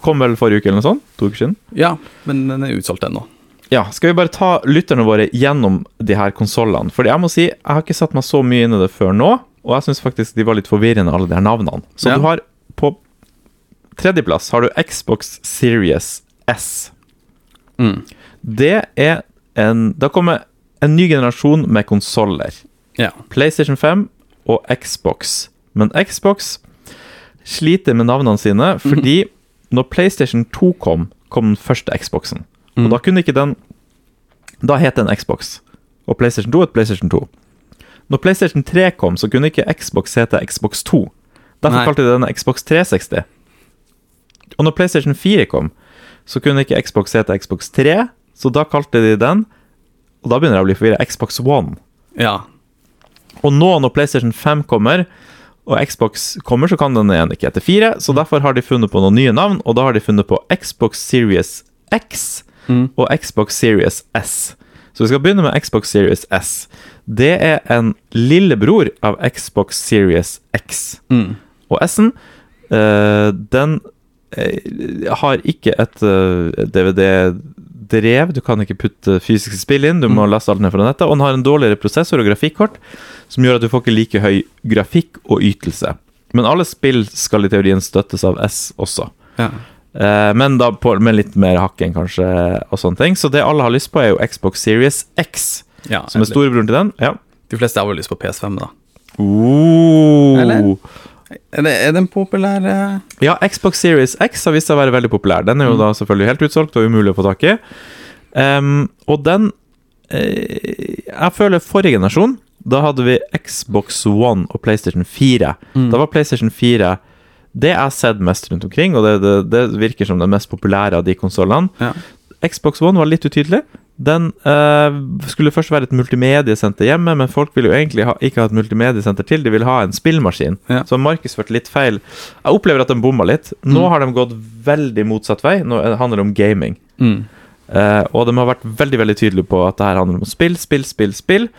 [SPEAKER 1] kom vel forrige uke eller noe sånt? To uker siden.
[SPEAKER 2] Ja, men den er utsolgt ennå.
[SPEAKER 1] Ja, skal vi bare ta lytterne våre gjennom de her konsollene? Fordi jeg må si, jeg har ikke satt meg så mye inn i det før nå, og jeg syns faktisk de var litt forvirrende, alle de her navnene. Så
[SPEAKER 2] Ja.
[SPEAKER 1] du har på tredjeplass har du Xbox Series S.
[SPEAKER 2] Mm.
[SPEAKER 1] Det er en Da kommer en ny generasjon med konsoller.
[SPEAKER 2] Ja.
[SPEAKER 1] PlayStation 5 og Xbox. Men Xbox sliter med navnene sine fordi når PlayStation 2 kom, kom den første Xboxen. Og
[SPEAKER 2] Mm.
[SPEAKER 1] da kunne ikke den Da het den Xbox. Og PlayStation 2 het PlayStation 2. Når PlayStation 3 kom, så kunne ikke Xbox hete Xbox 2. Derfor
[SPEAKER 2] Nei.
[SPEAKER 1] kalte de den Xbox 360. Og når PlayStation 4 kom, så kunne ikke Xbox hete Xbox 3, så da kalte de den Og da begynner jeg å bli forvirra. Xbox One.
[SPEAKER 2] ja.
[SPEAKER 1] Og nå når PlayStation 5 kommer, og Xbox kommer, så kan den igjen ikke hete 4.
[SPEAKER 2] Mm.
[SPEAKER 1] Så derfor har de funnet på noen nye navn, og da har de funnet på Xbox Series X
[SPEAKER 2] Mm.
[SPEAKER 1] og Xbox Series S. Så vi skal begynne med Xbox Series S. Det er en lillebror av Xbox Series X.
[SPEAKER 2] Mm.
[SPEAKER 1] Og S-en, eh, den eh, har ikke et eh, DVD-drev. Du kan ikke putte fysiske spill inn, du må laste alt ned fra nettet. Og den har en dårligere prosessor og grafikkort, som gjør at du får ikke like høy grafikk og ytelse. Men alle spill skal i teorien støttes av S også.
[SPEAKER 2] ja.
[SPEAKER 1] Eh, men da på, med litt mer hakken, kanskje, og sånne ting. Så det alle har lyst på, er jo Xbox Series X,
[SPEAKER 2] ja.
[SPEAKER 1] som er
[SPEAKER 2] eller-
[SPEAKER 1] storebroren til den. Ja.
[SPEAKER 2] De fleste har vel lyst på PS5, da.
[SPEAKER 1] Oh.
[SPEAKER 2] Eller? Er det, er det en populær eh,
[SPEAKER 1] Ja, Xbox Series X har vist seg å være veldig populær. Den er jo da selvfølgelig helt utsolgt og umulig å få tak i. Ehm, og den eh, Jeg føler forrige generasjon, da hadde vi Xbox One og PlayStation 4. Da var PlayStation 4 det jeg har sett mest rundt omkring, og det, det, det virker som den mest populære av de konsollene.
[SPEAKER 2] Ja.
[SPEAKER 1] Xbox One var litt utydelig. Den eh, skulle først være et multimediesenter hjemme, men folk ville jo egentlig ha, ikke ha et multimediesenter til, de ville ha en spillmaskin.
[SPEAKER 2] Ja.
[SPEAKER 1] Så markedsført litt feil. Jeg opplever at de bomma litt. Nå har de gått veldig motsatt vei. Nå handler det om gaming.
[SPEAKER 2] mm.
[SPEAKER 1] Eh, og de har vært veldig veldig tydelige på at det her handler om spill, spill, spill, spill.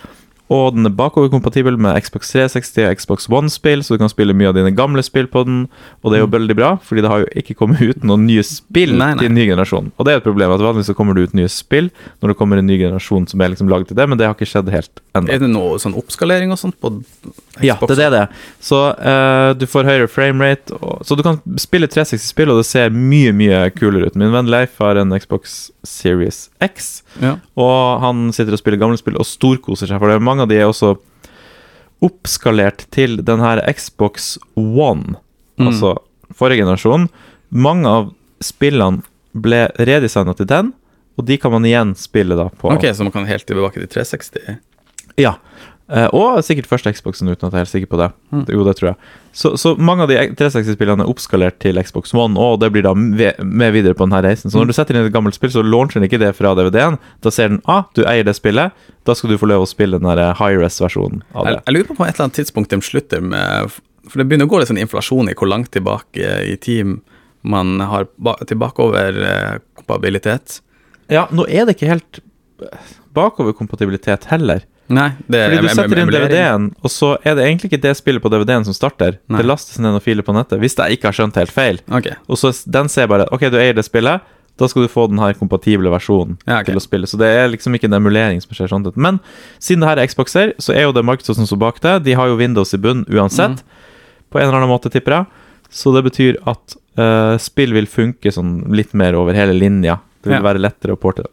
[SPEAKER 1] Og den er bakoverkompatibel med Xbox 360 og Xbox One-spill, så du kan spille mye av dine gamle spill på den. Og det er jo veldig bra, fordi det har jo ikke kommet ut noen nye spill
[SPEAKER 2] Mm. Nei, nei.
[SPEAKER 1] til en ny generasjon. Og det er et problem, at vanligvis så kommer det ut nye spill når det kommer en ny generasjon som er liksom laget til det, men det har ikke skjedd helt ennå.
[SPEAKER 2] Er det noe sånn oppskalering og sånt på Xbox?
[SPEAKER 1] Ja, det er det det er. Så eh, du får høyere framerate, og- så du kan spille 360-spill, og det ser mye, mye kulere ut. Min venn Leif har en Xbox Series X,
[SPEAKER 2] Ja.
[SPEAKER 1] og han sitter og spiller gamle spill og storkoser seg, for det er mange av de er også oppskalert til den her Xbox One,
[SPEAKER 2] Mm.
[SPEAKER 1] altså forrige generasjon. Mange av spillene ble redesignet til den, og de kan man igjen spille da på
[SPEAKER 2] Ok, så man kan helt tilbake til 360?
[SPEAKER 1] ja. Eh, og sikkert første Xboxen, uten at jeg er helt sikker på det.
[SPEAKER 2] Mm.
[SPEAKER 1] Jo, det tror jeg. Så, så mange av de 360-spillene er oppskalert til Xbox One, og det blir da med med videre på denne reisen. Så
[SPEAKER 2] Mm.
[SPEAKER 1] når du setter inn et gammelt spill, så launcher den ikke det fra DVD-en. Da ser den ah, du eier det spillet, da skal du få lov å spille den der high-rest-versjonen av
[SPEAKER 2] Jeg,
[SPEAKER 1] det.
[SPEAKER 2] jeg lurer på på et eller annet tidspunkt de slutter med For det begynner å gå litt sånn inflasjon i hvor langt tilbake i tid man har ba- tilbakeover eh, kompabilitet.
[SPEAKER 1] Ja, nå er det ikke helt eh, bakoverkompatibilitet heller.
[SPEAKER 2] Nei, det
[SPEAKER 1] Fordi du
[SPEAKER 2] em-
[SPEAKER 1] setter inn
[SPEAKER 2] emulering.
[SPEAKER 1] DVD-en, og så er det egentlig ikke det spillet på DVD-en som starter.
[SPEAKER 2] Nei.
[SPEAKER 1] Det lastes ned noen filer på nettet, hvis jeg ikke har skjønt helt feil.
[SPEAKER 2] Ok,
[SPEAKER 1] Og så s- den ser bare Ok, du eier det spillet, da skal du få den her kompatible versjonen
[SPEAKER 2] Ja, ok.
[SPEAKER 1] til å spille. Så det er liksom ikke en emulering som skjer sånn. sett. Men siden det her er Xboxer, så er jo det markedet som står bak det. De har jo Windows i bunn
[SPEAKER 2] Mhm.
[SPEAKER 1] uansett, på en eller annen måte, tipper jeg. Så det betyr at eh, spill vil funke sånn litt mer over hele linja. Det vil
[SPEAKER 2] Ja.
[SPEAKER 1] være lettere å porte det.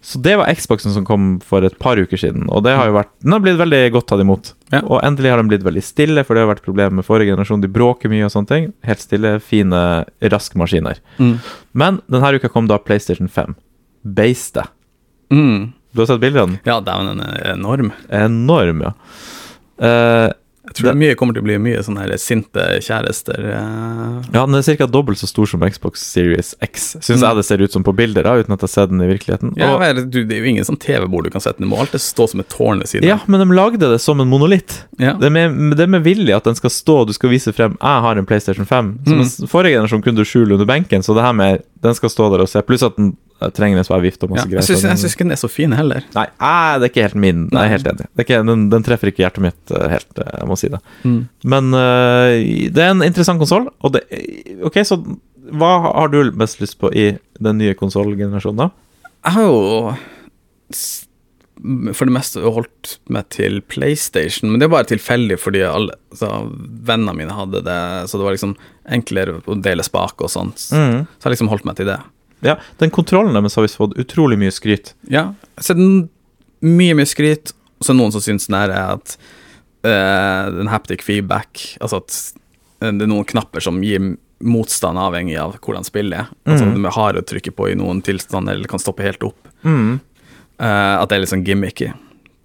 [SPEAKER 1] Så det var Xboxen som kom for et par uker siden, og det har jo vært, den har blitt veldig godt tatt imot.
[SPEAKER 2] Ja.
[SPEAKER 1] Og endelig har den blitt veldig stille, for det har vært problemer med forrige generasjon. De bråker mye og sånne ting. Helt stille, fine, raske maskiner.
[SPEAKER 2] Mm.
[SPEAKER 1] Men denne uka kom da PlayStation 5. Beiste.
[SPEAKER 2] Mm.
[SPEAKER 1] Du har sett bildene?
[SPEAKER 2] Ja, dæven, den er enorm.
[SPEAKER 1] Enorm, ja. Eh,
[SPEAKER 2] Jeg tror det, mye kommer til å bli mye sånne her sinte kjærester. eh.
[SPEAKER 1] ja, den er ca. dobbelt så stor som Xbox Series X, syns jeg det ser ut som på bilder, da, uten at jeg har sett den i virkeligheten.
[SPEAKER 2] Mm. Ja,
[SPEAKER 1] Og,
[SPEAKER 2] vel, du, det er jo ingen sånn TV-bord du kan sette, den må alltid stå som et tårn ved siden
[SPEAKER 1] ja, men de lagde det som en monolitt.
[SPEAKER 2] Ja.
[SPEAKER 1] Det er, med, det er med vilje at den skal stå, du skal vise frem 'jeg har en PlayStation 5'. Som
[SPEAKER 2] Mm.
[SPEAKER 1] mens Forrige generasjon kunne du skjule under benken, så det her med den skal stå der og se. Pluss at den Jeg trenger en svær vift og
[SPEAKER 2] Ja.
[SPEAKER 1] masse
[SPEAKER 2] Jeg
[SPEAKER 1] greier. så
[SPEAKER 2] syns jeg
[SPEAKER 1] den-
[SPEAKER 2] syns ikke den er så fin heller.
[SPEAKER 1] Nei, æ, det er ikke helt min. Jeg er helt enig. Det er ikke, den, den treffer ikke hjertet mitt eh, helt, eh, jeg må si det.
[SPEAKER 2] Mm.
[SPEAKER 1] Men eh, det er en interessant konsoll, og det Ok, så hva har du mest lyst på i den nye konsollgenerasjonen, da?
[SPEAKER 2] Jeg har jo s- for det meste holdt meg til PlayStation, men det er bare tilfeldig fordi alle altså, vennene mine hadde det, så det var liksom enklere å dele spak og sånt.
[SPEAKER 1] Mm.
[SPEAKER 2] Så jeg har liksom holdt meg til det.
[SPEAKER 1] Ja, den kontrollen deres har visst fått utrolig mye skryt.
[SPEAKER 2] Ja. Jeg har sett n- mye, mye skryt, og så er det noen som syns den her er at eh, den haptic feedback Altså at eh, det er noen knapper som gir motstand avhengig av hvordan spillet er. Altså
[SPEAKER 1] Mhm.
[SPEAKER 2] at de er harde å trykke på i noen tilstander, eller kan stoppe helt opp. Eh, at det er litt sånn gimmicky.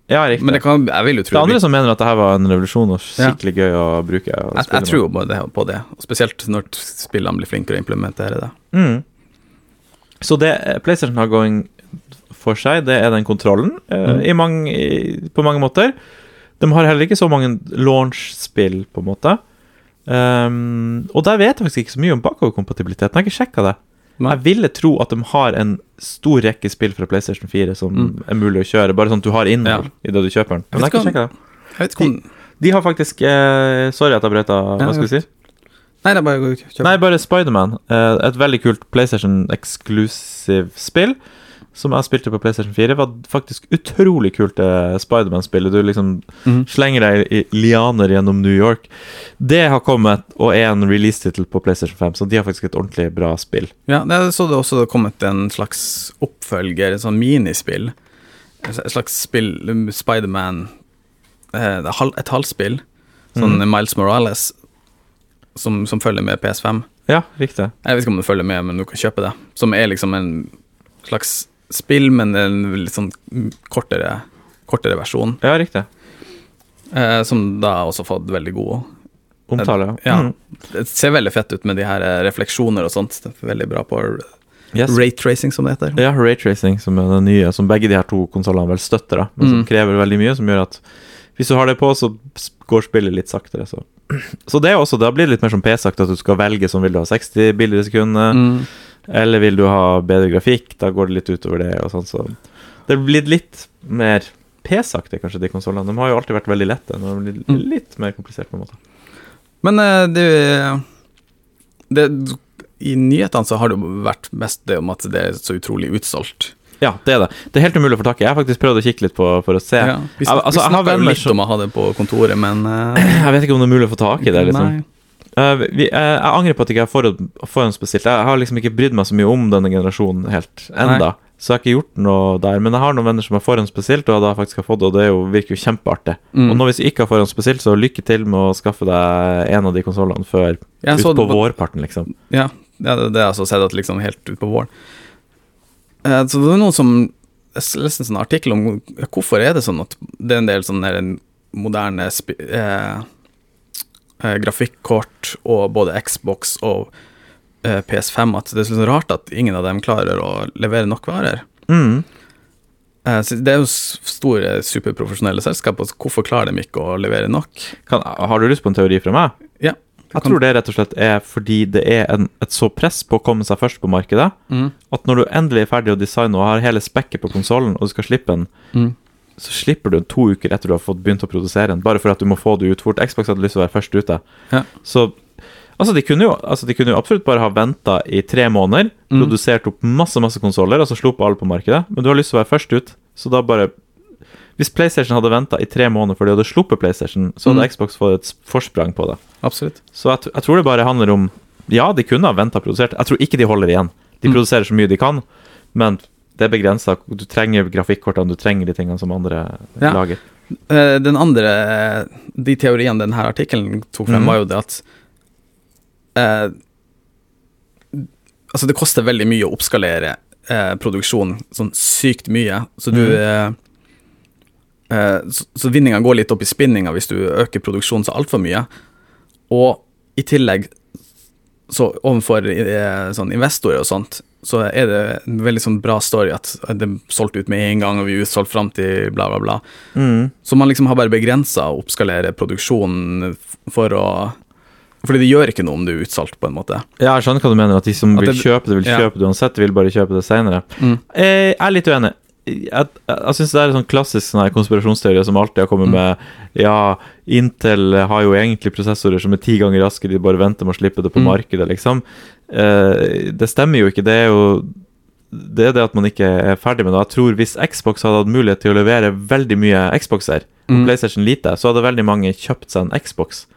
[SPEAKER 1] Ja, riktig.
[SPEAKER 2] Men det kan, jeg vil jo
[SPEAKER 1] Det er
[SPEAKER 2] tro
[SPEAKER 1] andre
[SPEAKER 2] jeg,
[SPEAKER 1] som mener at det her var en revolusjon og skikkelig gøy å bruke. og
[SPEAKER 2] jeg,
[SPEAKER 1] spille med.
[SPEAKER 2] tror jo på det, på det, og spesielt når spillene blir flinkere å implementere det.
[SPEAKER 1] Mm. Så det eh, PlayStation har going for seg, det er den kontrollen eh, i mange, i, på mange måter. De har heller ikke så mange launch-spill, på en måte. Ehm, og der vet jeg faktisk ikke så mye om bakoverkompatibiliteten. Jeg har ikke sjekka det.
[SPEAKER 2] Nei.
[SPEAKER 1] Jeg ville tro at de har en stor rekke spill fra PlayStation 4 som er mulig å kjøre, bare sånn at du har innhold i det du kjøper den. Men
[SPEAKER 2] Jeg
[SPEAKER 1] jeg
[SPEAKER 2] vet
[SPEAKER 1] har ikke
[SPEAKER 2] ikke
[SPEAKER 1] sjekket det.
[SPEAKER 2] Jeg vet ikke om
[SPEAKER 1] De har faktisk eh, Sorry at jeg brøt av,
[SPEAKER 2] Ja,
[SPEAKER 1] hva skal vi si?
[SPEAKER 2] Nei, det er bare å kjøpe.
[SPEAKER 1] Nei, bare Spiderman. Eh, Et veldig kult PlayStation-eksklusiv spill som jeg spilte på PlayStation 4. var faktisk utrolig kult, det Spiderman-spillet. Du liksom
[SPEAKER 2] Mhm.
[SPEAKER 1] slenger deg i lianer gjennom New York. Det har kommet og er en release-tittel på PlayStation 5, så de har faktisk et ordentlig bra spill.
[SPEAKER 2] Ja, jeg så det også det kommet en slags oppfølger, et sånn minispill. Et slags spill, um, Spiderman eh, det er hal- Et halvspill. Sånn
[SPEAKER 1] Mhm.
[SPEAKER 2] Miles Morales, som, som følger med PS5.
[SPEAKER 1] Ja, riktig.
[SPEAKER 2] Jeg vet ikke om det følger med, men du kan kjøpe det. Som er liksom en slags spill, men en litt sånn kortere, kortere versjon.
[SPEAKER 1] Ja, riktig.
[SPEAKER 2] Eh, som da har også fått veldig god
[SPEAKER 1] Omtale,
[SPEAKER 2] Ja.
[SPEAKER 1] Mhm.
[SPEAKER 2] Det ser veldig fett ut med de her eh, refleksjoner og sånt. Det er veldig bra på
[SPEAKER 1] Yes.
[SPEAKER 2] rate-tracing, som det heter.
[SPEAKER 1] Ja, Raytracing, som er den nye, som begge de her to konsollene vel støtter, da, men som
[SPEAKER 2] Mm.
[SPEAKER 1] krever veldig mye, som gjør at hvis du har det på, så s- går spillet litt saktere. Så, så det er også, da blir det litt mer som P-sagt, at du skal velge som vil du ha 60 bilder i sekundet,
[SPEAKER 2] Mm.
[SPEAKER 1] eller vil du ha bedre grafikk, da går det litt utover det, og sånn, så det er blitt litt mer P-sakte, kanskje, de konsollene. De har jo alltid vært veldig lette, nå blir de
[SPEAKER 2] Mm.
[SPEAKER 1] litt mer komplisert, på en måte.
[SPEAKER 2] Men eh, det, det I nyhetene så har det jo vært mest det om at det er så utrolig utsolgt.
[SPEAKER 1] Ja, det er det. Det er helt umulig å få tak i. Jeg har faktisk prøvd å kikke litt på for å se.
[SPEAKER 2] Ja, vi
[SPEAKER 1] Jeg- altså,
[SPEAKER 2] snak, vi
[SPEAKER 1] jeg har
[SPEAKER 2] snakka jo
[SPEAKER 1] venner
[SPEAKER 2] litt
[SPEAKER 1] som-
[SPEAKER 2] om å ha det på kontoret, men eh,
[SPEAKER 1] Jeg vet ikke om det er mulig å få tak i det, liksom.
[SPEAKER 2] Nei.
[SPEAKER 1] Eh, vi, eh, jeg angrer på at jeg ikke har forhånd, forhåndsbestilt. Jeg har liksom ikke brydd meg så mye om denne generasjonen helt enda Så jeg har ikke gjort noe der. Men jeg har noen venner som har forhåndsbestilt, og da faktisk har fått det, og det er jo, virker jo kjempeartig.
[SPEAKER 2] Mm.
[SPEAKER 1] Og nå hvis du ikke har forhåndsbestilt, så lykke til med å skaffe deg en av de konsollene før
[SPEAKER 2] Jeg så
[SPEAKER 1] utpå
[SPEAKER 2] det på-
[SPEAKER 1] vårparten, liksom.
[SPEAKER 2] Ja, ja, det, det har jeg også sett at liksom helt ut på våren. Eh, så det var noen som Jeg leste en sånn artikkel om hvorfor er det sånn at det er en del sånne der moderne spi, eh, eh, grafikkort og både Xbox og eh, PS5 at det er så rart at ingen av dem klarer å levere nok varer.
[SPEAKER 1] Mm.
[SPEAKER 2] Eh, så det er jo s- store superprofesjonelle selskaper, så hvorfor klarer de ikke å levere nok?
[SPEAKER 1] Kan, har du lyst på en teori fra meg?
[SPEAKER 2] Ja.
[SPEAKER 1] Jeg tror det rett og slett er fordi det er en, et så press på å komme seg først på markedet,
[SPEAKER 2] Mm.
[SPEAKER 1] at når du endelig er ferdig å designe og har hele spekket på konsollen, og du skal slippe den,
[SPEAKER 2] Mm.
[SPEAKER 1] så slipper du den to uker etter du har fått begynt å produsere den, bare for at du må få det ut fort. Xbox hadde lyst til å være først ute.
[SPEAKER 2] Ja.
[SPEAKER 1] Så altså, de kunne jo, altså, de kunne jo absolutt bare ha venta i tre måneder,
[SPEAKER 2] Mm.
[SPEAKER 1] produsert opp masse, masse konsoller, og så sluppet alle på markedet, men du har lyst til å være først ut, så da bare Hvis PlayStation hadde venta i tre måneder for de hadde sluppet PlayStation, så hadde
[SPEAKER 2] Mm.
[SPEAKER 1] Xbox fått et forsprang på det.
[SPEAKER 2] Absolutt.
[SPEAKER 1] Så jeg, tr- jeg tror det bare handler om Ja, de kunne ha venta og produsert. Jeg tror ikke de holder igjen. De
[SPEAKER 2] Mm.
[SPEAKER 1] produserer så mye de kan, men det er begrensa. Du trenger grafikkortene, du trenger de tingene som andre
[SPEAKER 2] Ja.
[SPEAKER 1] lager.
[SPEAKER 2] Eh, Den andre De teoriene denne artikkelen tok frem,
[SPEAKER 1] Mhm.
[SPEAKER 2] var jo det at eh, Altså, det koster veldig mye å oppskalere eh, produksjonen sånn sykt mye, så du eh, eh, Så, så vinninga går litt opp i spinninga hvis du øker produksjonen så altfor mye. Og i tillegg, så overfor eh, sånn investorer og sånt, så er det en veldig sånn bra story at det er solgt ut med en gang, og vi er utsolgt fram til bla, bla, bla. Mm. Så man liksom har bare begrensa å oppskalere produksjonen f- for å Fordi det gjør ikke noe om du er utsalt, på en måte.
[SPEAKER 1] Ja, jeg skjønner hva du mener, at de som
[SPEAKER 2] At
[SPEAKER 1] vil
[SPEAKER 2] det-
[SPEAKER 1] kjøpe det, vil
[SPEAKER 2] ja.
[SPEAKER 1] kjøpe det uansett, de vil bare kjøpe det senere.
[SPEAKER 2] Mm.
[SPEAKER 1] Eh, Jeg er litt uenig. Jeg, jeg, jeg syns det er en sånn klassisk sånn her konspirasjonsteori som alltid har kommet
[SPEAKER 2] Mm.
[SPEAKER 1] med Ja, Intel har jo egentlig prosessorer som er ti ganger raskere, de bare venter med å slippe det på
[SPEAKER 2] Mm.
[SPEAKER 1] markedet, liksom. Eh, det stemmer jo ikke. Det er jo det, er det at man ikke er ferdig med det. Jeg tror hvis Xbox hadde hatt mulighet til å levere veldig mye Xboxer, og
[SPEAKER 2] Mm.
[SPEAKER 1] PlayStation lite, så hadde veldig mange kjøpt seg en Xbox.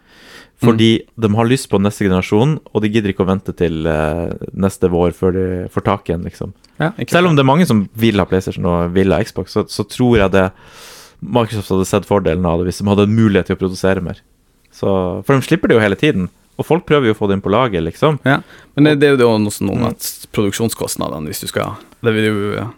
[SPEAKER 1] Fordi
[SPEAKER 2] Mm.
[SPEAKER 1] de har lyst på neste generasjon, og de gidder ikke å vente til eh, neste vår før de får tak i en, liksom.
[SPEAKER 2] Ja, ikke
[SPEAKER 1] Selv om det er mange som vil ha PlayStation og vil ha Xbox, så, så tror jeg det Microsoft hadde sett fordelen av det hvis de hadde en mulighet til å produsere mer. Så, for de slipper det jo hele tiden, og folk prøver jo å få det inn på laget, liksom.
[SPEAKER 2] Ja, men det, det er jo også noe
[SPEAKER 1] Mm.
[SPEAKER 2] med at produksjonskostnadene, hvis du skal Det vil jo ja.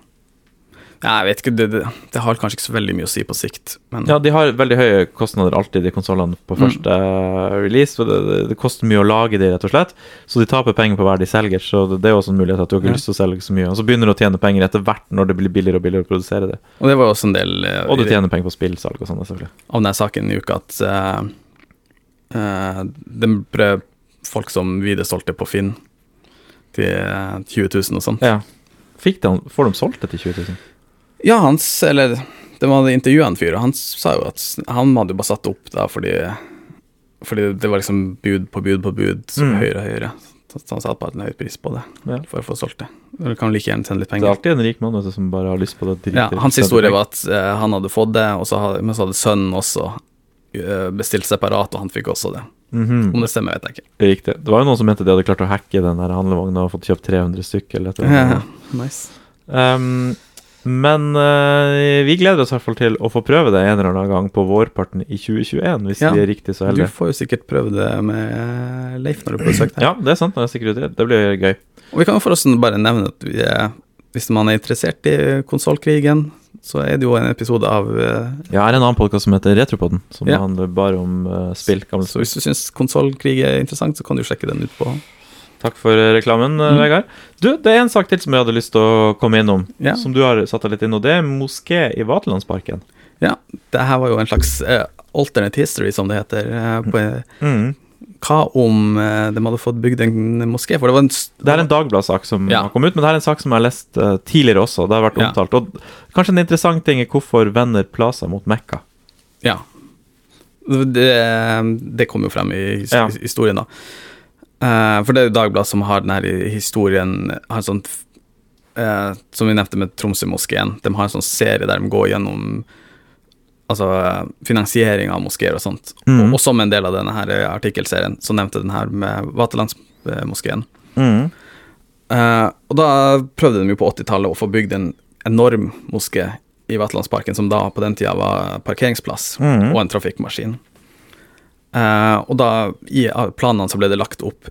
[SPEAKER 2] Ja, jeg vet ikke, det, det, det har kanskje ikke så veldig mye å si på sikt, men
[SPEAKER 1] Ja, de har veldig høye kostnader alltid, de konsollene, på
[SPEAKER 2] Mm.
[SPEAKER 1] første eh, release. For det, det, det koster mye å lage de, rett og slett, så de taper penger på hver de selger. Så det, det er også en mulighet at du har ikke
[SPEAKER 2] Ja.
[SPEAKER 1] lyst til å selge så mye. Og så begynner du å tjene penger etter hvert når det blir billigere og billigere å produsere det.
[SPEAKER 2] Og det var jo også en del eh,
[SPEAKER 1] Og du
[SPEAKER 2] i-
[SPEAKER 1] tjener penger på spillsalg og sånn, selvfølgelig.
[SPEAKER 2] av denne saken i uka at eh, eh, det ble folk som videresolgte på Finn til eh, 20 000 og sånn.
[SPEAKER 1] Ja. Fikk de, får de solgt det til 20 000?
[SPEAKER 2] Ja, hans, eller det var intervjuet en fyr, og han sa jo at han hadde jo bare satt opp da fordi, fordi det var liksom bud på bud på bud, så
[SPEAKER 1] Mm.
[SPEAKER 2] høyere og høyere. Så han satte bare en høy pris på det
[SPEAKER 1] Ja.
[SPEAKER 2] for å få solgt det. Du kan like gjerne tjene litt
[SPEAKER 1] Det er
[SPEAKER 2] penger.
[SPEAKER 1] alltid en rik mann vet du, som bare har lyst på det.
[SPEAKER 2] Ja, hans historie var at eh, han hadde fått det, og så hadde, men så hadde sønnen også eh, bestilt separat, og han fikk også det. Om det stemmer, vet jeg ikke.
[SPEAKER 1] Mhm. Riktig. Det var jo noen som mente de hadde klart å hacke den der handlevogna og fått kjøpt 300 stykk. Eller et eller annet.
[SPEAKER 2] Nice.
[SPEAKER 1] Um, men eh, vi gleder oss i hvert fall til å få prøve det en eller annen gang på vårparten i 2021, hvis
[SPEAKER 2] Ja.
[SPEAKER 1] vi er riktig så
[SPEAKER 2] Du
[SPEAKER 1] heldige.
[SPEAKER 2] får jo sikkert prøve det med eh, Leif når du får besøk der.
[SPEAKER 1] Ja, det er sant. når jeg stikker ut i det. Det blir gøy.
[SPEAKER 2] Og vi kan jo forresten bare nevne at vi er, hvis man er interessert i konsollkrigen, så er det jo en episode av eh,
[SPEAKER 1] Jeg har en annen podkast som heter Retropoden, som
[SPEAKER 2] Ja.
[SPEAKER 1] handler bare om eh, spill. Gamle
[SPEAKER 2] Så
[SPEAKER 1] spill.
[SPEAKER 2] hvis du syns konsollkrig er interessant, så kan du sjekke den ut på
[SPEAKER 1] Takk for reklamen, eh,
[SPEAKER 2] Mm.
[SPEAKER 1] Vegard. Du, det er en sak til som jeg hadde lyst til å komme innom,
[SPEAKER 2] Ja.
[SPEAKER 1] som du har satt deg litt inn, og det er moské i Vaterlandsparken.
[SPEAKER 2] Ja, det her var jo en slags eh, alternate history, som det heter. eh, på,
[SPEAKER 1] Mm.
[SPEAKER 2] hva om eh, de hadde fått bygd en moské? For det var en s-
[SPEAKER 1] Det er en Dagbladet-sak som
[SPEAKER 2] Ja.
[SPEAKER 1] har kommet ut, men det er en sak som jeg har lest eh, tidligere også. Det har vært
[SPEAKER 2] Ja.
[SPEAKER 1] omtalt. Og kanskje en interessant ting er hvorfor vender Plaza mot Mekka.
[SPEAKER 2] Ja. Det, det kom jo frem i his-
[SPEAKER 1] Ja.
[SPEAKER 2] historien, da. Eh, for det er jo Dagbladet som har den her i- historien har en sånn, f- eh, Som vi nevnte med Tromsø-moskeen. De har en sånn serie der de går gjennom altså, eh, finansiering av moskeer og sånt.
[SPEAKER 1] Mhm.
[SPEAKER 2] Og, og som en del av denne her eh, artikkelserien, så nevnte den her med Vaterlandsmoskeen.
[SPEAKER 1] Mm.
[SPEAKER 2] Eh, og da prøvde de jo på 80-tallet å få bygd en enorm moské i Vaterlandsparken, som da på den tida var parkeringsplass
[SPEAKER 1] Mhm.
[SPEAKER 2] og en trafikkmaskin. Eh, og da, i av planene, så ble det lagt opp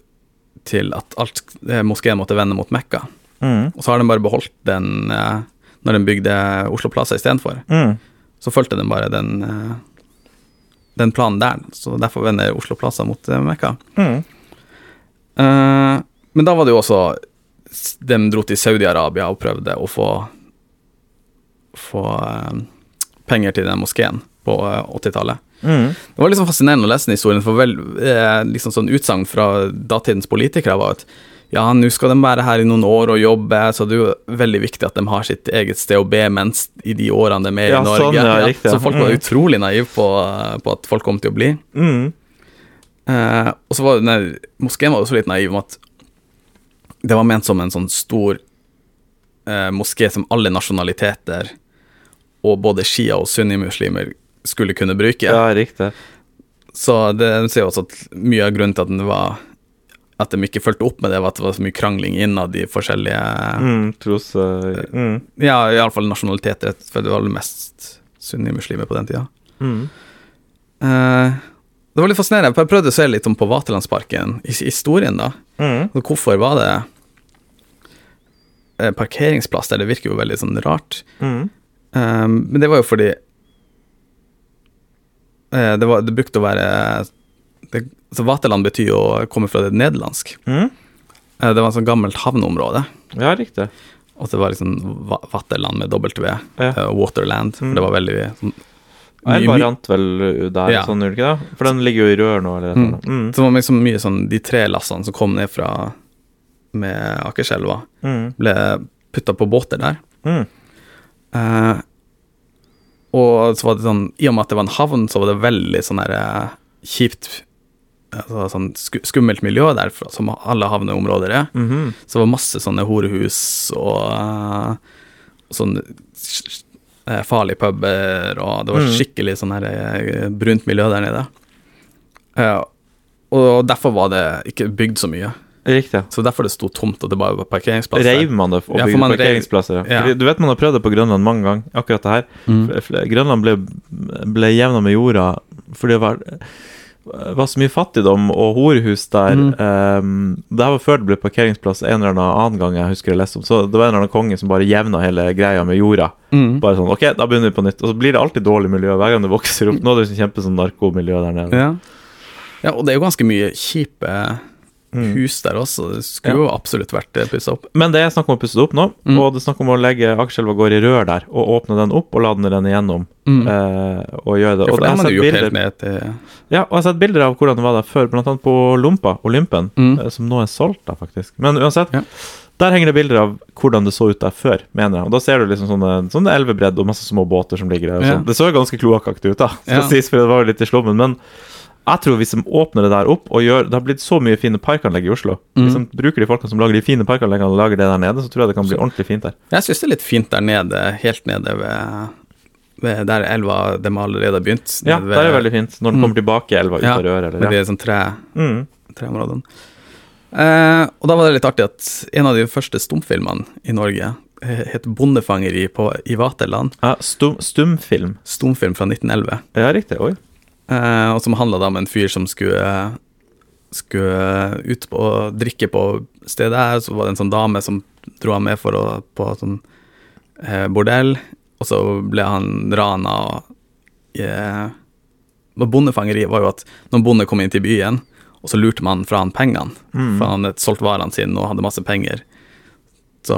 [SPEAKER 2] til at alt eh, moskeen måtte vende mot Mekka.
[SPEAKER 1] Mm.
[SPEAKER 2] Og så har de bare beholdt den eh, når de bygde Oslo Plaza istedenfor.
[SPEAKER 1] Mm.
[SPEAKER 2] Så fulgte de bare den, eh, den planen der, så derfor vender Oslo Plaza mot eh, Mekka.
[SPEAKER 1] Mm.
[SPEAKER 2] Eh, men da var det jo også De dro til Saudi-Arabia og prøvde å få Få eh, penger til den moskeen på eh, 80-tallet.
[SPEAKER 1] Mm.
[SPEAKER 2] Det var liksom fascinerende å lese den historien, for vel, eh, liksom sånn utsagn fra datidens politikere var at ja, nå skal de være her i noen år og jobbe, så det er jo veldig viktig at de har sitt eget sted å be mens i de årene de er i
[SPEAKER 1] Ja,
[SPEAKER 2] Norge.
[SPEAKER 1] sånn, ja, riktig, ja.
[SPEAKER 2] Så folk var
[SPEAKER 1] Mm.
[SPEAKER 2] utrolig naive på, på at folk kom til å bli.
[SPEAKER 1] Mm.
[SPEAKER 2] Eh, og så var den der moskeen var også litt naiv om at det var ment som en sånn stor eh, moské som alle nasjonaliteter og både shia- og sunnimuslimer skulle kunne bruke.
[SPEAKER 1] Ja, riktig.
[SPEAKER 2] Så det de sier jo også at mye av grunnen til at den var at de ikke fulgte opp med det, var at det var så mye krangling innad i forskjellige
[SPEAKER 1] Mm. Tros... eh, mm.
[SPEAKER 2] Ja, iallfall nasjonaliteter, for det var vel mest sunnimuslimer på den tida.
[SPEAKER 1] Mm.
[SPEAKER 2] Eh, det var litt fascinerende, for jeg prøvde å se litt om på Vaterlandsparken, his- historien, da.
[SPEAKER 1] Mm.
[SPEAKER 2] Og hvorfor var det eh, parkeringsplass der? Det virker jo veldig sånn rart.
[SPEAKER 1] Mm.
[SPEAKER 2] Ehm, men det var jo fordi eh, det, var, det brukte å være det, så Vaterland betyr jo å komme fra det nederlandsk.
[SPEAKER 1] Mm.
[SPEAKER 2] Eh, det var et sånt gammelt havneområde.
[SPEAKER 1] Ja, riktig.
[SPEAKER 2] Og det var liksom Va- Vaterland med W.
[SPEAKER 1] Ja.
[SPEAKER 2] eh, Waterland. For det var veldig sånn
[SPEAKER 1] Er
[SPEAKER 2] mye-
[SPEAKER 1] variant vel der,
[SPEAKER 2] Ja.
[SPEAKER 1] sånn, gjør det ikke det? For den ligger jo i rør nå. Eller, et eller annet. mm.
[SPEAKER 2] Så det var liksom mye sånn De tre lassene som kom ned fra med Akerselva,
[SPEAKER 1] Mm.
[SPEAKER 2] ble putta på båter der.
[SPEAKER 1] Mm.
[SPEAKER 2] Eh, og så var det sånn I og med at det var en havn, så var det veldig sånn der eh, kjipt altså, sånn sku, Skummelt miljø der, for- som alle havneområder er.
[SPEAKER 1] Mhm.
[SPEAKER 2] Så det var masse sånne horehus og eh, sånn s- s- eh, farlige puber, og det var
[SPEAKER 1] Mm.
[SPEAKER 2] skikkelig sånn her eh, brunt miljø der nede. Eh, og derfor var det ikke bygd så mye.
[SPEAKER 1] Riktig.
[SPEAKER 2] Så derfor det sto tomt, og det bare var parkeringsplass der.
[SPEAKER 1] Reiv man det og
[SPEAKER 2] Ja, for
[SPEAKER 1] bygde
[SPEAKER 2] man reiv-
[SPEAKER 1] parkeringsplasser?
[SPEAKER 2] Ja.
[SPEAKER 1] Fordi Du vet man har prøvd det på Grønland mange ganger, akkurat det her.
[SPEAKER 2] Mm.
[SPEAKER 1] F- f- Grønland ble, ble jevna med jorda fordi det var, var så mye fattigdom og horehus der.
[SPEAKER 2] Mm.
[SPEAKER 1] Ehm, det her var før det ble parkeringsplass en eller annen annen gang jeg husker jeg leste om. Så det var en eller annen konge som bare jevna hele greia med jorda.
[SPEAKER 2] Mm.
[SPEAKER 1] Bare sånn, ok, da begynner vi på nytt. Og så blir det alltid dårlig miljø hver gang det vokser opp. Nå er det liksom kjempe sånn narkomiljø der nede.
[SPEAKER 2] Ja. ja, og det er jo ganske mye kjipe
[SPEAKER 1] Mm.
[SPEAKER 2] hus der også. Det skulle jo absolutt vært pussa opp.
[SPEAKER 1] Men det er snakk om å pusse det opp nå,
[SPEAKER 2] Mm.
[SPEAKER 1] og det er snakk om å legge Akerselva gård i rør der, og åpne den opp og lade den igjennom.
[SPEAKER 2] Mm.
[SPEAKER 1] eh, og gjøre det. Og
[SPEAKER 2] ja, for det
[SPEAKER 1] jeg
[SPEAKER 2] har
[SPEAKER 1] har
[SPEAKER 2] man
[SPEAKER 1] sett
[SPEAKER 2] jo gjort
[SPEAKER 1] bilder-
[SPEAKER 2] helt ned til
[SPEAKER 1] Ja, og jeg har sett bilder av hvordan det var der før, blant annet på Lompa, Olympen,
[SPEAKER 2] Mm.
[SPEAKER 1] eh, som nå er solgt da, faktisk. Men uansett,
[SPEAKER 2] Ja.
[SPEAKER 1] der henger det bilder av hvordan det så ut der før, mener jeg. Og da ser du liksom sånne, sånne elvebredd og masse små båter som ligger der. Og
[SPEAKER 2] Ja.
[SPEAKER 1] sånn. Det så jo ganske kloakkaktig ut da, skal
[SPEAKER 2] Ja.
[SPEAKER 1] sies, for det var jo litt i slummen, men jeg tror hvis de åpner det der opp og gjør Det har blitt så mye fine parkanlegg i Oslo. Hvis de bruker de folkene som lager de fine parkanleggene og lager det der nede, så tror jeg det kan bli ordentlig fint der.
[SPEAKER 2] Jeg syns det er litt fint der nede, helt nede ved, ved der elva de allerede har begynt.
[SPEAKER 1] Ja,
[SPEAKER 2] nede
[SPEAKER 1] der er det veldig fint, når den kommer tilbake i elva ut
[SPEAKER 2] ja,
[SPEAKER 1] av røret.
[SPEAKER 2] Med
[SPEAKER 1] Eller, ja.
[SPEAKER 2] de sånn tre,
[SPEAKER 1] mm.
[SPEAKER 2] treområdene. Eh, og da var det litt artig at en av de første stumfilmene i Norge eh, het 'Bondefangeri på, i Vaterland'.
[SPEAKER 1] ja, stum, Stumfilm.
[SPEAKER 2] Stumfilm fra 1911.
[SPEAKER 1] Ja, riktig. Oi.
[SPEAKER 2] Eh, og som handla da om en fyr som skulle skulle ut på drikke på stedet her, så var det en sånn dame som dro han med for å, på sånn eh, bordell, og så ble han rana og eh, og Bondefangeri var jo at når en bonde kom inn til byen, og så lurte man fra han pengene,
[SPEAKER 1] Mm.
[SPEAKER 2] for han hadde solgt varene sine og hadde masse penger, så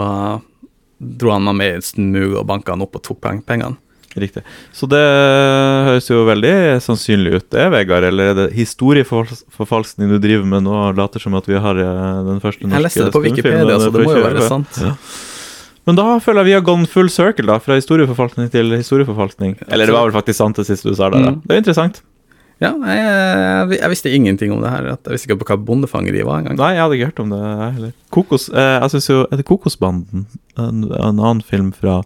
[SPEAKER 2] dro han meg med i et smug og banka han opp og tok peng- pengene.
[SPEAKER 1] Riktig. Så det høres jo veldig sannsynlig ut. Det er Vegard, eller er det historieforfalskning du driver med nå og later som at vi har eh, den første norske
[SPEAKER 2] Jeg leste det på
[SPEAKER 1] stumfilmen,
[SPEAKER 2] Wikipedia, så
[SPEAKER 1] får
[SPEAKER 2] det må jo
[SPEAKER 1] ikke
[SPEAKER 2] være
[SPEAKER 1] være.
[SPEAKER 2] sant.
[SPEAKER 1] Men da føler jeg vi har gone full circle, da. Fra historieforfalskning til historieforfalskning. Eller det var vel faktisk sant det siste du sa der, da.
[SPEAKER 2] Mm.
[SPEAKER 1] Det er interessant.
[SPEAKER 2] Ja, nei, jeg, jeg visste ingenting om det her. at Jeg visste ikke hva bondefangeri var engang.
[SPEAKER 1] Nei, jeg hadde ikke hørt om det, jeg heller. Kokos, eh, jeg synes jo Er det Kokosbanden? En, en annen film fra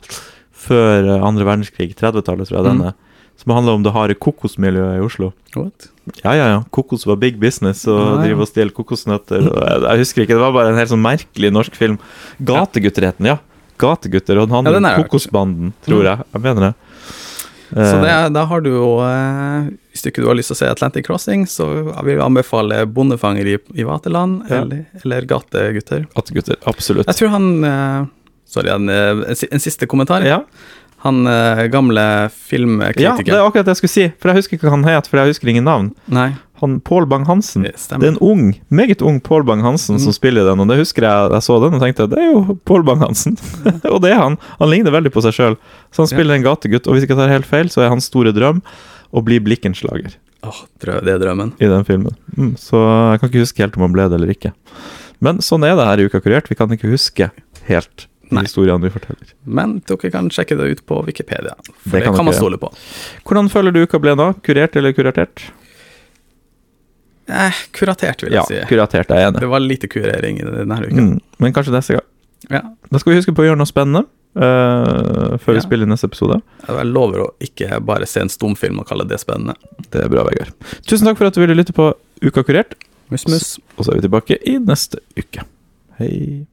[SPEAKER 1] før eh, andre verdenskrig, 30-tallet, tror jeg
[SPEAKER 2] Mm.
[SPEAKER 1] den er. Som handler om det harde kokosmiljøet i Oslo.
[SPEAKER 2] What?
[SPEAKER 1] Ja, ja, ja. Kokos var big business, og
[SPEAKER 2] Ja, ja.
[SPEAKER 1] drive og stjele kokosnøtter. Og jeg, jeg husker ikke, Det var bare en helt sånn merkelig norsk film. Gategutter het den, ja. Gategutter. Og den handler
[SPEAKER 2] Ja,
[SPEAKER 1] om
[SPEAKER 2] den har jeg hørt.
[SPEAKER 1] Kokosbanden, tror jeg. Jeg mener det.
[SPEAKER 2] Så
[SPEAKER 1] Eh,
[SPEAKER 2] det, er- da har du jo eh, Hvis ikke du har lyst til å se Atlantic Crossing, så vil jeg anbefale Bondefangeri i Vaterland
[SPEAKER 1] Ja.
[SPEAKER 2] eller, eller Gategutter.
[SPEAKER 1] Eh, Gategutter, absolutt.
[SPEAKER 2] Jeg tror han eh, Sorry, en, eh, en si- en siste kommentar.
[SPEAKER 1] Ja.
[SPEAKER 2] Han eh, gamle
[SPEAKER 1] ja, det
[SPEAKER 2] filmkritikeren
[SPEAKER 1] er akkurat det jeg skulle si, for jeg husker ikke hva han het, for jeg husker ingen navn.
[SPEAKER 2] Nei,
[SPEAKER 1] Han Pål Bang-Hansen. Mm. Det
[SPEAKER 2] det
[SPEAKER 1] er
[SPEAKER 2] stemmer. Mm.
[SPEAKER 1] en ung, meget ung Pål Bang-Hansen som spiller i den, og det husker jeg jeg så den og tenkte det er jo Pål Bang-Hansen. og det er han. Han ligner veldig på seg sjøl. Så han
[SPEAKER 2] Ja.
[SPEAKER 1] spiller en gategutt, og hvis jeg ikke tar helt feil, så er hans store drøm å bli blikkenslager.
[SPEAKER 2] Åh, drø, det er drømmen.
[SPEAKER 1] i den filmen. Mm, så jeg kan ikke huske helt om han ble det eller ikke. Men sånn er det her i Uka kurert. Vi kan ikke huske helt de
[SPEAKER 2] Nei.
[SPEAKER 1] historiene vi forteller.
[SPEAKER 2] Men dere kan sjekke det ut på Wikipedia, for
[SPEAKER 1] Det
[SPEAKER 2] det,
[SPEAKER 1] kan
[SPEAKER 2] kan man
[SPEAKER 1] dere.
[SPEAKER 2] stole på.
[SPEAKER 1] Hvordan føler du uka ble nå? Kurert eller kuratert?
[SPEAKER 2] Eh, kuratert, vil
[SPEAKER 1] Ja,
[SPEAKER 2] jeg si.
[SPEAKER 1] kuratert er jeg enig.
[SPEAKER 2] Det var lite kurering i denne uka.
[SPEAKER 1] Mm, men kanskje neste gang.
[SPEAKER 2] Ja.
[SPEAKER 1] Da skal vi huske på å gjøre noe spennende eh, før
[SPEAKER 2] Ja.
[SPEAKER 1] vi spiller neste episode.
[SPEAKER 2] Jeg lover å ikke bare se en stumfilm og kalle det spennende.
[SPEAKER 1] Det er bra, Vegard. Tusen takk for at du ville lytte på Uka kurert,
[SPEAKER 2] Mus, mus.
[SPEAKER 1] og så er vi tilbake i neste uke. Hei.